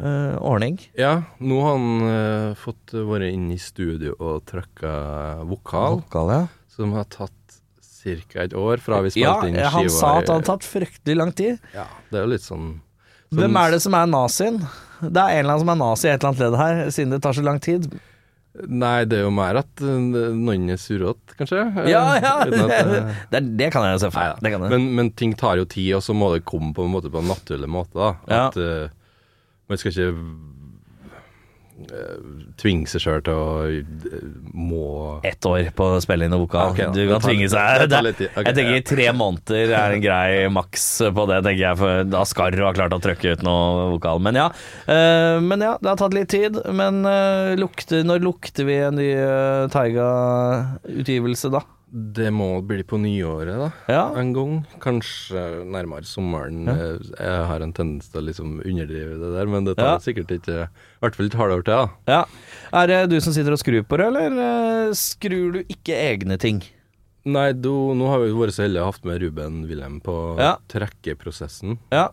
[SPEAKER 2] eh, ordning.
[SPEAKER 3] Ja, nå har han eh, fått vært inn i studio og trykka vokal,
[SPEAKER 2] ja.
[SPEAKER 3] som har tatt ca. et år fra vi
[SPEAKER 2] Ja, eh,
[SPEAKER 3] spilte inn skiva.
[SPEAKER 2] han sa
[SPEAKER 3] i-
[SPEAKER 2] at han har tatt fryktelig lang tid.
[SPEAKER 3] Ja, det er jo litt sånn
[SPEAKER 2] Hvem er det som er nazien? Det er en eller annen som er nazi i et eller annet ledd her, siden det tar så lang tid.
[SPEAKER 3] Nei, det er jo mer at eh, noen er surrete, kanskje. eh,
[SPEAKER 2] Ja, ja! Det,
[SPEAKER 3] uten at, eh,
[SPEAKER 2] det, er- det kan jeg jo se for
[SPEAKER 3] Nei
[SPEAKER 2] meg. Det
[SPEAKER 3] da.
[SPEAKER 2] kan jeg.
[SPEAKER 3] Men, men ting tar jo tid, og så må det komme på en måte på en naturlig måte. da
[SPEAKER 2] Ja.
[SPEAKER 3] At eh, Man skal ikke eh, tvinge seg sjøl til å eh, må
[SPEAKER 2] ett år på å spille inn noe vokal.
[SPEAKER 3] Ok, da.
[SPEAKER 2] du kan
[SPEAKER 3] Det tar-
[SPEAKER 2] tvinge seg
[SPEAKER 3] det tar litt tid. Ok,
[SPEAKER 2] Jeg tenker tre måneder er en grei maks på det, tenker jeg. For da skal du ha klart å trøkke ut noe vokal. Men ja, eh, men ja det har tatt litt tid. Men eh, lukter, når lukter vi en ny eh, Taiga-utgivelse, da?
[SPEAKER 3] Det må bli på nyåret, da.
[SPEAKER 2] Ja.
[SPEAKER 3] En gang. Kanskje nærmere sommeren. Eh, Jeg har en tendens til å liksom underdrive det der, men det tar
[SPEAKER 2] Ja.
[SPEAKER 3] sikkert ikke I hvert fall et halvår til, da.
[SPEAKER 2] ja. Er det du som sitter og skrur på det, eller eh, skrur du ikke egne ting?
[SPEAKER 3] Nei, du, nå har vi vært så heldige å ha hatt med Ruben Wilhelm på
[SPEAKER 2] Ja.
[SPEAKER 3] trekkeprosessen.
[SPEAKER 2] Ja.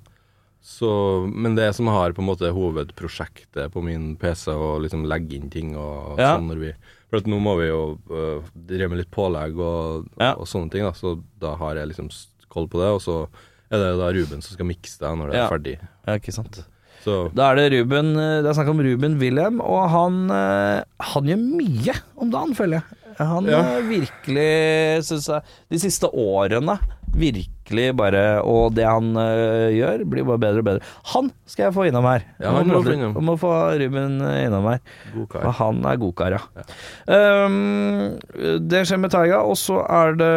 [SPEAKER 3] Så, men det som har på en måte hovedprosjektet på min PC, å liksom legge inn ting og
[SPEAKER 2] Ja.
[SPEAKER 3] sånn når vi For at nå må vi jo øh, drive med litt pålegg og,
[SPEAKER 2] Ja.
[SPEAKER 3] og sånne ting, da, så da har jeg liksom koll på det. Og så er det da Ruben som skal mikse det når det
[SPEAKER 2] Ja.
[SPEAKER 3] er ferdig.
[SPEAKER 2] ja, ikke sant.
[SPEAKER 3] Så
[SPEAKER 2] Da er det Ruben eh, Det er snakk om Ruben Wilhelm, og han eh, Han gjør mye om dagen, føler jeg. Han
[SPEAKER 3] Ja.
[SPEAKER 2] eh, virkelig, syns jeg, de siste årene virkelig bare Og det han eh, gjør, blir bare bedre og bedre. Han skal jeg få innom her.
[SPEAKER 3] Ja, han må
[SPEAKER 2] må,
[SPEAKER 3] du få innom.
[SPEAKER 2] må få Ruben eh, innom her.
[SPEAKER 3] god
[SPEAKER 2] For
[SPEAKER 3] kar.
[SPEAKER 2] han er godkar, ja. Um, det skjer med Taiga, og så er det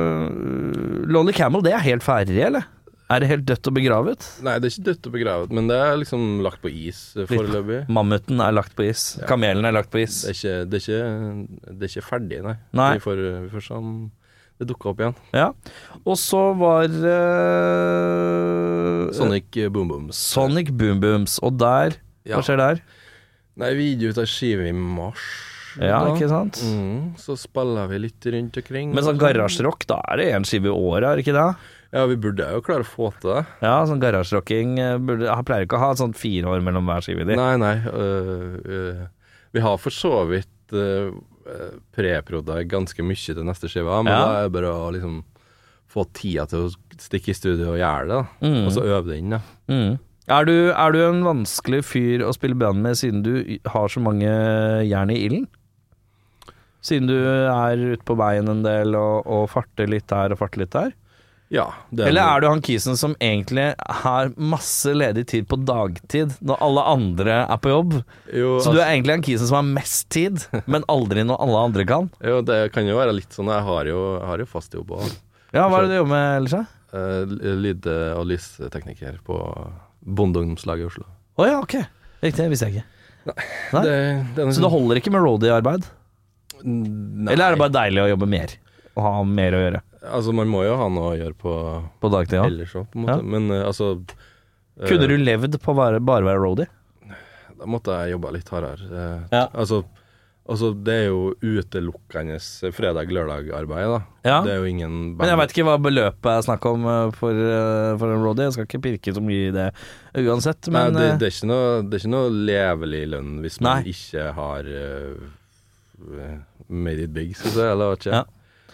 [SPEAKER 2] øh, Lolly Camel, det er helt ferdig, eller? Er det helt dødt og begravet?
[SPEAKER 3] Nei, det er ikke dødt og begravet, men det er liksom lagt på is eh, foreløpig.
[SPEAKER 2] Mammuten er lagt på is. Kamelen er lagt på is.
[SPEAKER 3] Det er ikke, det er ikke, det er ikke ferdig, nei.
[SPEAKER 2] Nei.
[SPEAKER 3] Vi får, vi får sånn Det dukka opp igjen.
[SPEAKER 2] Ja. Og så var eh,
[SPEAKER 3] Sonic Boom Booms.
[SPEAKER 2] Sonic Boom Booms. Og der
[SPEAKER 3] Ja.
[SPEAKER 2] Hva skjer der?
[SPEAKER 3] Nei, vi gir ut ei skive i mars.
[SPEAKER 2] Ja,
[SPEAKER 3] da.
[SPEAKER 2] ikke sant?
[SPEAKER 3] Mm, så spiller vi litt rundt omkring.
[SPEAKER 2] Men sånn garasjerock, da er det én skive i året, er det ikke det?
[SPEAKER 3] Ja, vi burde jo klare å få til det.
[SPEAKER 2] Ja, sånn garasjerocking eh, burde Jeg pleier ikke å ha sånn fire år mellom hver skive di.
[SPEAKER 3] Nei, nei. øh, øh, vi har for så vidt øh, øh, preprodda ganske mye til neste skive, men
[SPEAKER 2] Ja.
[SPEAKER 3] da er det bare å liksom få tida til å stikke i studio og gjøre det, da.
[SPEAKER 2] Mm.
[SPEAKER 3] Og så øve det inn, da.
[SPEAKER 2] Mm. Er, du, er du en vanskelig fyr å spille band med siden du y- har så mange jern i ilden? Siden du er ute på veien en del og, og farter litt der og farter litt der?
[SPEAKER 3] Ja. Det
[SPEAKER 2] Eller er du han kisen som egentlig har masse ledig tid på dagtid, når alle andre er på jobb?
[SPEAKER 3] jo,
[SPEAKER 2] Så du er egentlig han kisen som har mest tid, men aldri når alle andre kan?
[SPEAKER 3] altså, Jo, det kan jo være litt sånn. Jeg har jo, jeg har jo fast jobb og
[SPEAKER 2] Ja, hva er det du jobber med ellers, da?
[SPEAKER 3] eh, lyd- og lystekniker på Bondeungdomslaget i Oslo.
[SPEAKER 2] Å ja, ok. Riktig, det visste jeg ikke. Nei.
[SPEAKER 3] Det, det er sånn-
[SPEAKER 2] Så det holder ikke med roadie-arbeid?
[SPEAKER 3] Nei.
[SPEAKER 2] Eller er det bare deilig å jobbe mer? Å ha mer å gjøre
[SPEAKER 3] Altså, man må jo ha noe å gjøre på
[SPEAKER 2] på dagtid? Ja.
[SPEAKER 3] ellers òg, på en måte.
[SPEAKER 2] Ja.
[SPEAKER 3] Men eh, altså eh,
[SPEAKER 2] Kunne du levd på å være- bare være roadie?
[SPEAKER 3] Da måtte jeg jobba litt hardere. eh,
[SPEAKER 2] Ja.
[SPEAKER 3] Altså, altså, det er jo utelukkende fredag-lørdag-arbeid, da.
[SPEAKER 2] Ja.
[SPEAKER 3] Det er jo ingen
[SPEAKER 2] Men jeg veit ikke hva beløpet er snakk om eh, for, eh, for en roadie. Jeg skal ikke pirke så mye i det uansett, men
[SPEAKER 3] Nei, det,
[SPEAKER 2] eh,
[SPEAKER 3] det, er ikke noe, det er ikke noe levelig lønn hvis man
[SPEAKER 2] Nei.
[SPEAKER 3] ikke har eh, made it big, skal vi si. Eller hva vet ikke.
[SPEAKER 2] Ja.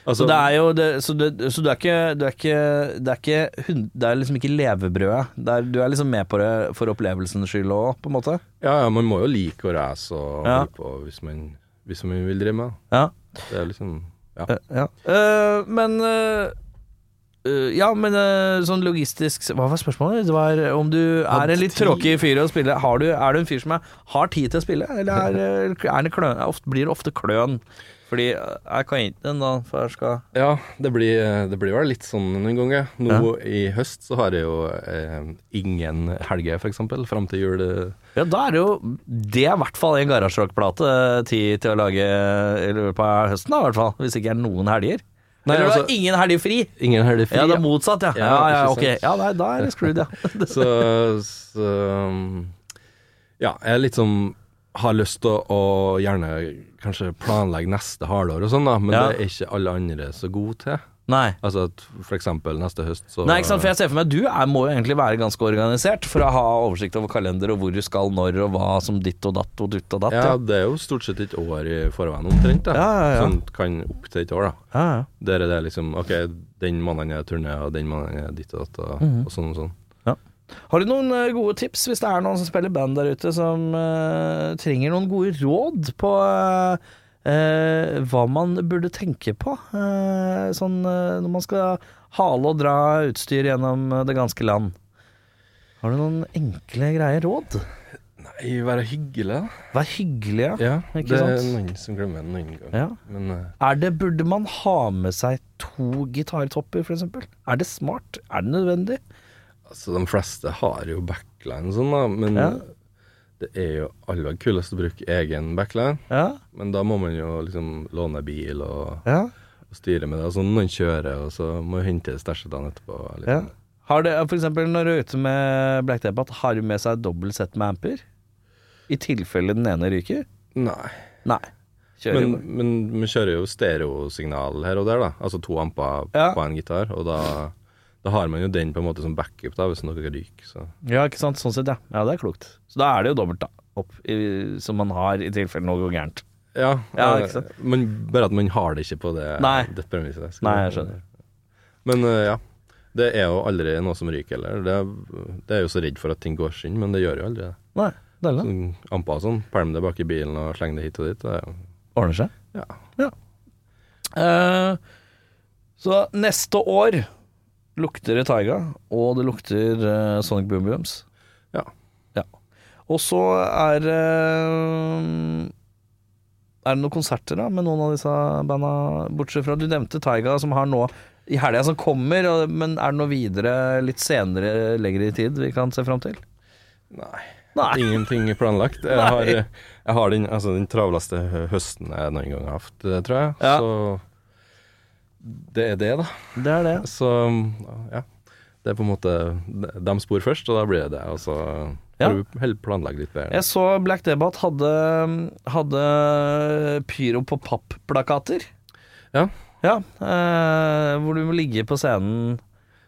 [SPEAKER 3] Altså,
[SPEAKER 2] Så det er jo det, så, det, så du er ikke Du er ikke Det er, ikke, hund- det er liksom ikke levebrødet. Det er, du er liksom med på det for opplevelsens skyld òg, på en måte.
[SPEAKER 3] ja, ja, man må jo like å race og
[SPEAKER 2] Ja.
[SPEAKER 3] holde på hvis man, hvis man vil drive med det.
[SPEAKER 2] Ja.
[SPEAKER 3] Det er liksom Ja.
[SPEAKER 2] Eh, ja. Eh, men eh, eh, Ja, men eh, sånn logistisk Hva var spørsmålet? Det var eh, om du
[SPEAKER 3] Hadde
[SPEAKER 2] er en litt
[SPEAKER 3] tid.
[SPEAKER 2] tråkig fyr å spille. Har du, er du en fyr som er, har tid til å spille, eller er, eh, er det kløn, er ofte, blir det ofte kløn? Fordi eh, jeg kan ikke den, da, for jeg skal
[SPEAKER 3] Ja, det blir, det blir vel litt sånn noen ganger. Nå i høst så har jeg jo eh, ingen helger, for eksempel, fram til jul. eh,
[SPEAKER 2] Ja, da er det jo Det er i hvert fall en garasjerockplate eh, tid til å lage eh, i løpet av høsten, da, i hvert fall. Hvis det ikke er noen helger.
[SPEAKER 3] Nei,
[SPEAKER 2] eller du
[SPEAKER 3] altså-
[SPEAKER 2] har ingen helger fri!
[SPEAKER 3] Ingen helger fri.
[SPEAKER 2] Ja, det er motsatt, ja.
[SPEAKER 3] Ja,
[SPEAKER 2] Ja, ja,
[SPEAKER 3] ikke
[SPEAKER 2] ok.
[SPEAKER 3] sant.
[SPEAKER 2] Ja, nei, da er det screwed, ja.
[SPEAKER 3] Så, så Ja, jeg er litt sånn har lyst til å, å gjerne kanskje planlegge neste halvår og sånn, da, men
[SPEAKER 2] Ja.
[SPEAKER 3] det er ikke alle andre så gode til.
[SPEAKER 2] Nei.
[SPEAKER 3] Altså at for eksempel neste høst så
[SPEAKER 2] Nei, ikke sant, for jeg ser for meg at du er, må jo egentlig være ganske organisert for å ha oversikt over kalender og hvor du skal når og hva som ditt og datt og dutt og datt.
[SPEAKER 3] Ja, det er jo stort sett et år i forveien omtrent, da.
[SPEAKER 2] Ja, ja, ja.
[SPEAKER 3] Sånn kan opp til et år, da.
[SPEAKER 2] ja, ja.
[SPEAKER 3] Der er det liksom OK, den måneden er turné, og den måneden er ditt og datt, og,
[SPEAKER 2] Mhm.
[SPEAKER 3] og sånn og sånn.
[SPEAKER 2] Har du noen eh, gode tips hvis det er noen som spiller band der ute som eh, trenger noen gode råd på eh, eh, hva man burde tenke på? eh, sånn eh, når man skal hale og dra utstyr gjennom eh, det ganske land. Har du noen enkle, greie råd?
[SPEAKER 3] Nei, være hyggelig, da.
[SPEAKER 2] Vær hyggelig, ja.
[SPEAKER 3] Ja,
[SPEAKER 2] Ikke
[SPEAKER 3] det er
[SPEAKER 2] sant?
[SPEAKER 3] noen som glemmer en annen gang.
[SPEAKER 2] Ja.
[SPEAKER 3] Men eh,
[SPEAKER 2] Er det, burde man ha med seg to gitartopper, f.eks.? Er det smart? Er det nødvendig?
[SPEAKER 3] altså, de fleste har jo backline sånn, da. Men
[SPEAKER 2] Ja.
[SPEAKER 3] det er jo aller kulest å bruke egen backline.
[SPEAKER 2] Ja.
[SPEAKER 3] Men da må man jo liksom låne bil og,
[SPEAKER 2] ja.
[SPEAKER 3] og styre med det. Og så må noen kjører, og så må du hente stæsjet dagen etterpå. og litt
[SPEAKER 2] ja.
[SPEAKER 3] sånn.
[SPEAKER 2] Har det, for eksempel når du er ute med Black Debate, har du med seg dobbelt sett med amper? I tilfelle den ene ryker?
[SPEAKER 3] Nei.
[SPEAKER 2] Nei. Kjører
[SPEAKER 3] Men,
[SPEAKER 2] men,
[SPEAKER 3] men vi kjører jo stereosignal her og der, da. Altså to amper
[SPEAKER 2] Ja.
[SPEAKER 3] på en gitar. Og da, da har man jo den på en måte som backup, da, hvis noe ryker. Så.
[SPEAKER 2] Ja, ikke sant. Sånn sett, ja. Ja, det er klokt. Så da er det jo dobbelt, da. Opp, i, som man har i tilfelle noe går gærent.
[SPEAKER 3] Ja,
[SPEAKER 2] Ja,
[SPEAKER 3] eh,
[SPEAKER 2] ikke sant?
[SPEAKER 3] Men bare at man har det ikke på det,
[SPEAKER 2] Nei.
[SPEAKER 3] det premisset. skal
[SPEAKER 2] Nei,
[SPEAKER 3] vi-
[SPEAKER 2] jeg skjønner.
[SPEAKER 3] Men eh, ja. Det er jo aldri noe som ryker heller. Det, er- det er jo så redd for at ting går skinn, men det gjør jo aldri det.
[SPEAKER 2] Nei, deilig. da.
[SPEAKER 3] Sånn Amper og sånn, pælm det bak i bilen og sleng det hit og dit. Det er jo
[SPEAKER 2] Ordner seg.
[SPEAKER 3] Ja.
[SPEAKER 2] Eh, så neste år lukter det Taiga, og det lukter eh, Sonic Boom Booms.
[SPEAKER 3] Ja.
[SPEAKER 2] Ja. Og så er eh, Er det noen konserter da med noen av disse banda, bortsett fra Du nevnte Taiga, som har nå i helga som kommer, og, men er det noe videre litt senere, lenger i tid, vi kan se fram til?
[SPEAKER 3] Nei.
[SPEAKER 2] Nei.
[SPEAKER 3] Ingenting planlagt. Jeg har, jeg har den, altså, den travleste hø- høsten jeg noen gang har hatt, eh, tror jeg.
[SPEAKER 2] Ja.
[SPEAKER 3] Så det er det, da.
[SPEAKER 2] Det er det.
[SPEAKER 3] Så ja. Det er på en måte De spor først, og da blir det det. Og så
[SPEAKER 2] Ja.
[SPEAKER 3] får du heller planlegge litt bedre.
[SPEAKER 2] Jeg så Black Debate hadde, hadde pyro på papp-plakater.
[SPEAKER 3] Ja.
[SPEAKER 2] Ja, eh, hvor du må ligge på scenen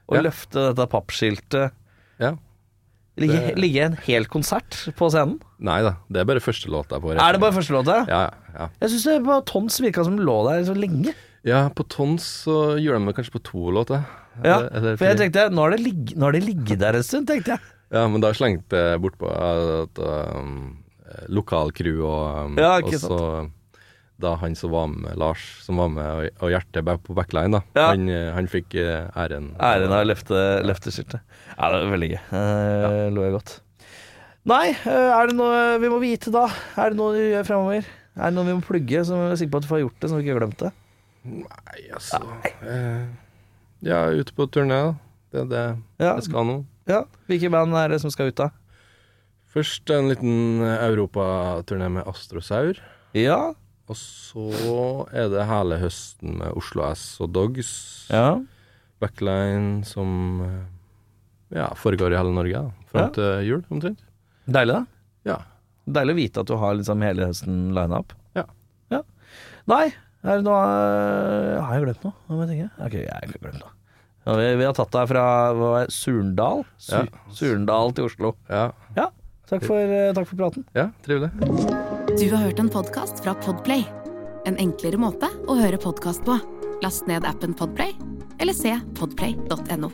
[SPEAKER 2] og
[SPEAKER 3] Ja.
[SPEAKER 2] løfte dette pappskiltet.
[SPEAKER 3] Ja.
[SPEAKER 2] Ligge,
[SPEAKER 3] Det-
[SPEAKER 2] ligge en hel konsert på scenen.
[SPEAKER 3] Nei da, det er bare første låta på
[SPEAKER 2] Er det bare første låta?
[SPEAKER 3] Ja, ja, ja.
[SPEAKER 2] Jeg syns det var Tons virka som lå der så lenge.
[SPEAKER 3] ja, på Tons så gjør de det kanskje på to låter.
[SPEAKER 2] Ja,
[SPEAKER 3] Eller- eller
[SPEAKER 2] For jeg
[SPEAKER 3] tre.
[SPEAKER 2] tenkte, nå har det, ligg- nå har det ligget der en stund, tenkte jeg.
[SPEAKER 3] Ja, men da slengte jeg bortpå at um, lokalcrew og um,
[SPEAKER 2] Ja, ikke
[SPEAKER 3] og så da han som var med, Lars, som var med og, og Hjerte bak- på backline, da.
[SPEAKER 2] Ja.
[SPEAKER 3] Han, eh, han fikk eh, æren.
[SPEAKER 2] Æren av å løfte, løfte skiltet. Ja, det var veldig gøy. Eh, Lo jeg godt. Nei, eh, er det noe vi må vite da? Er det noe du gjør fremover? Er det noe vi må plugge, som vi er sikre på at du får gjort det, som vi ikke har glemt det?
[SPEAKER 3] Nei, altså eh, Ja, ute på turné, da. Det er det
[SPEAKER 2] Ja.
[SPEAKER 3] jeg skal nå.
[SPEAKER 2] ja. Hvilke band er det som skal ut, da?
[SPEAKER 3] Først en liten europaturné med Astrosaur.
[SPEAKER 2] Ja.
[SPEAKER 3] Og så er det hele høsten med Oslo S og Dogs.
[SPEAKER 2] ja.
[SPEAKER 3] Backline som eh, ja, foregår i hele Norge da, fram
[SPEAKER 2] Ja.
[SPEAKER 3] til jul, omtrent.
[SPEAKER 2] Deilig, da.
[SPEAKER 3] Ja.
[SPEAKER 2] Deilig å vite at du har liksom hele høsten lina opp.
[SPEAKER 3] Ja.
[SPEAKER 2] ja. Nei, er det noe eh, Har jeg glemt noe? Hva må jeg tenke? Ok, jeg har ikke glemt noe. Ja, vi, vi har tatt deg fra hva var det, Surndal Su
[SPEAKER 3] Ja.
[SPEAKER 2] Surndal til Oslo.
[SPEAKER 3] Ja,
[SPEAKER 2] Ja, takk for, eh, takk for praten.
[SPEAKER 3] ja trivelig.
[SPEAKER 1] Du har hørt en podkast fra Podplay. En enklere måte å høre podkast på. Last ned appen Podplay, eller se podplay.no.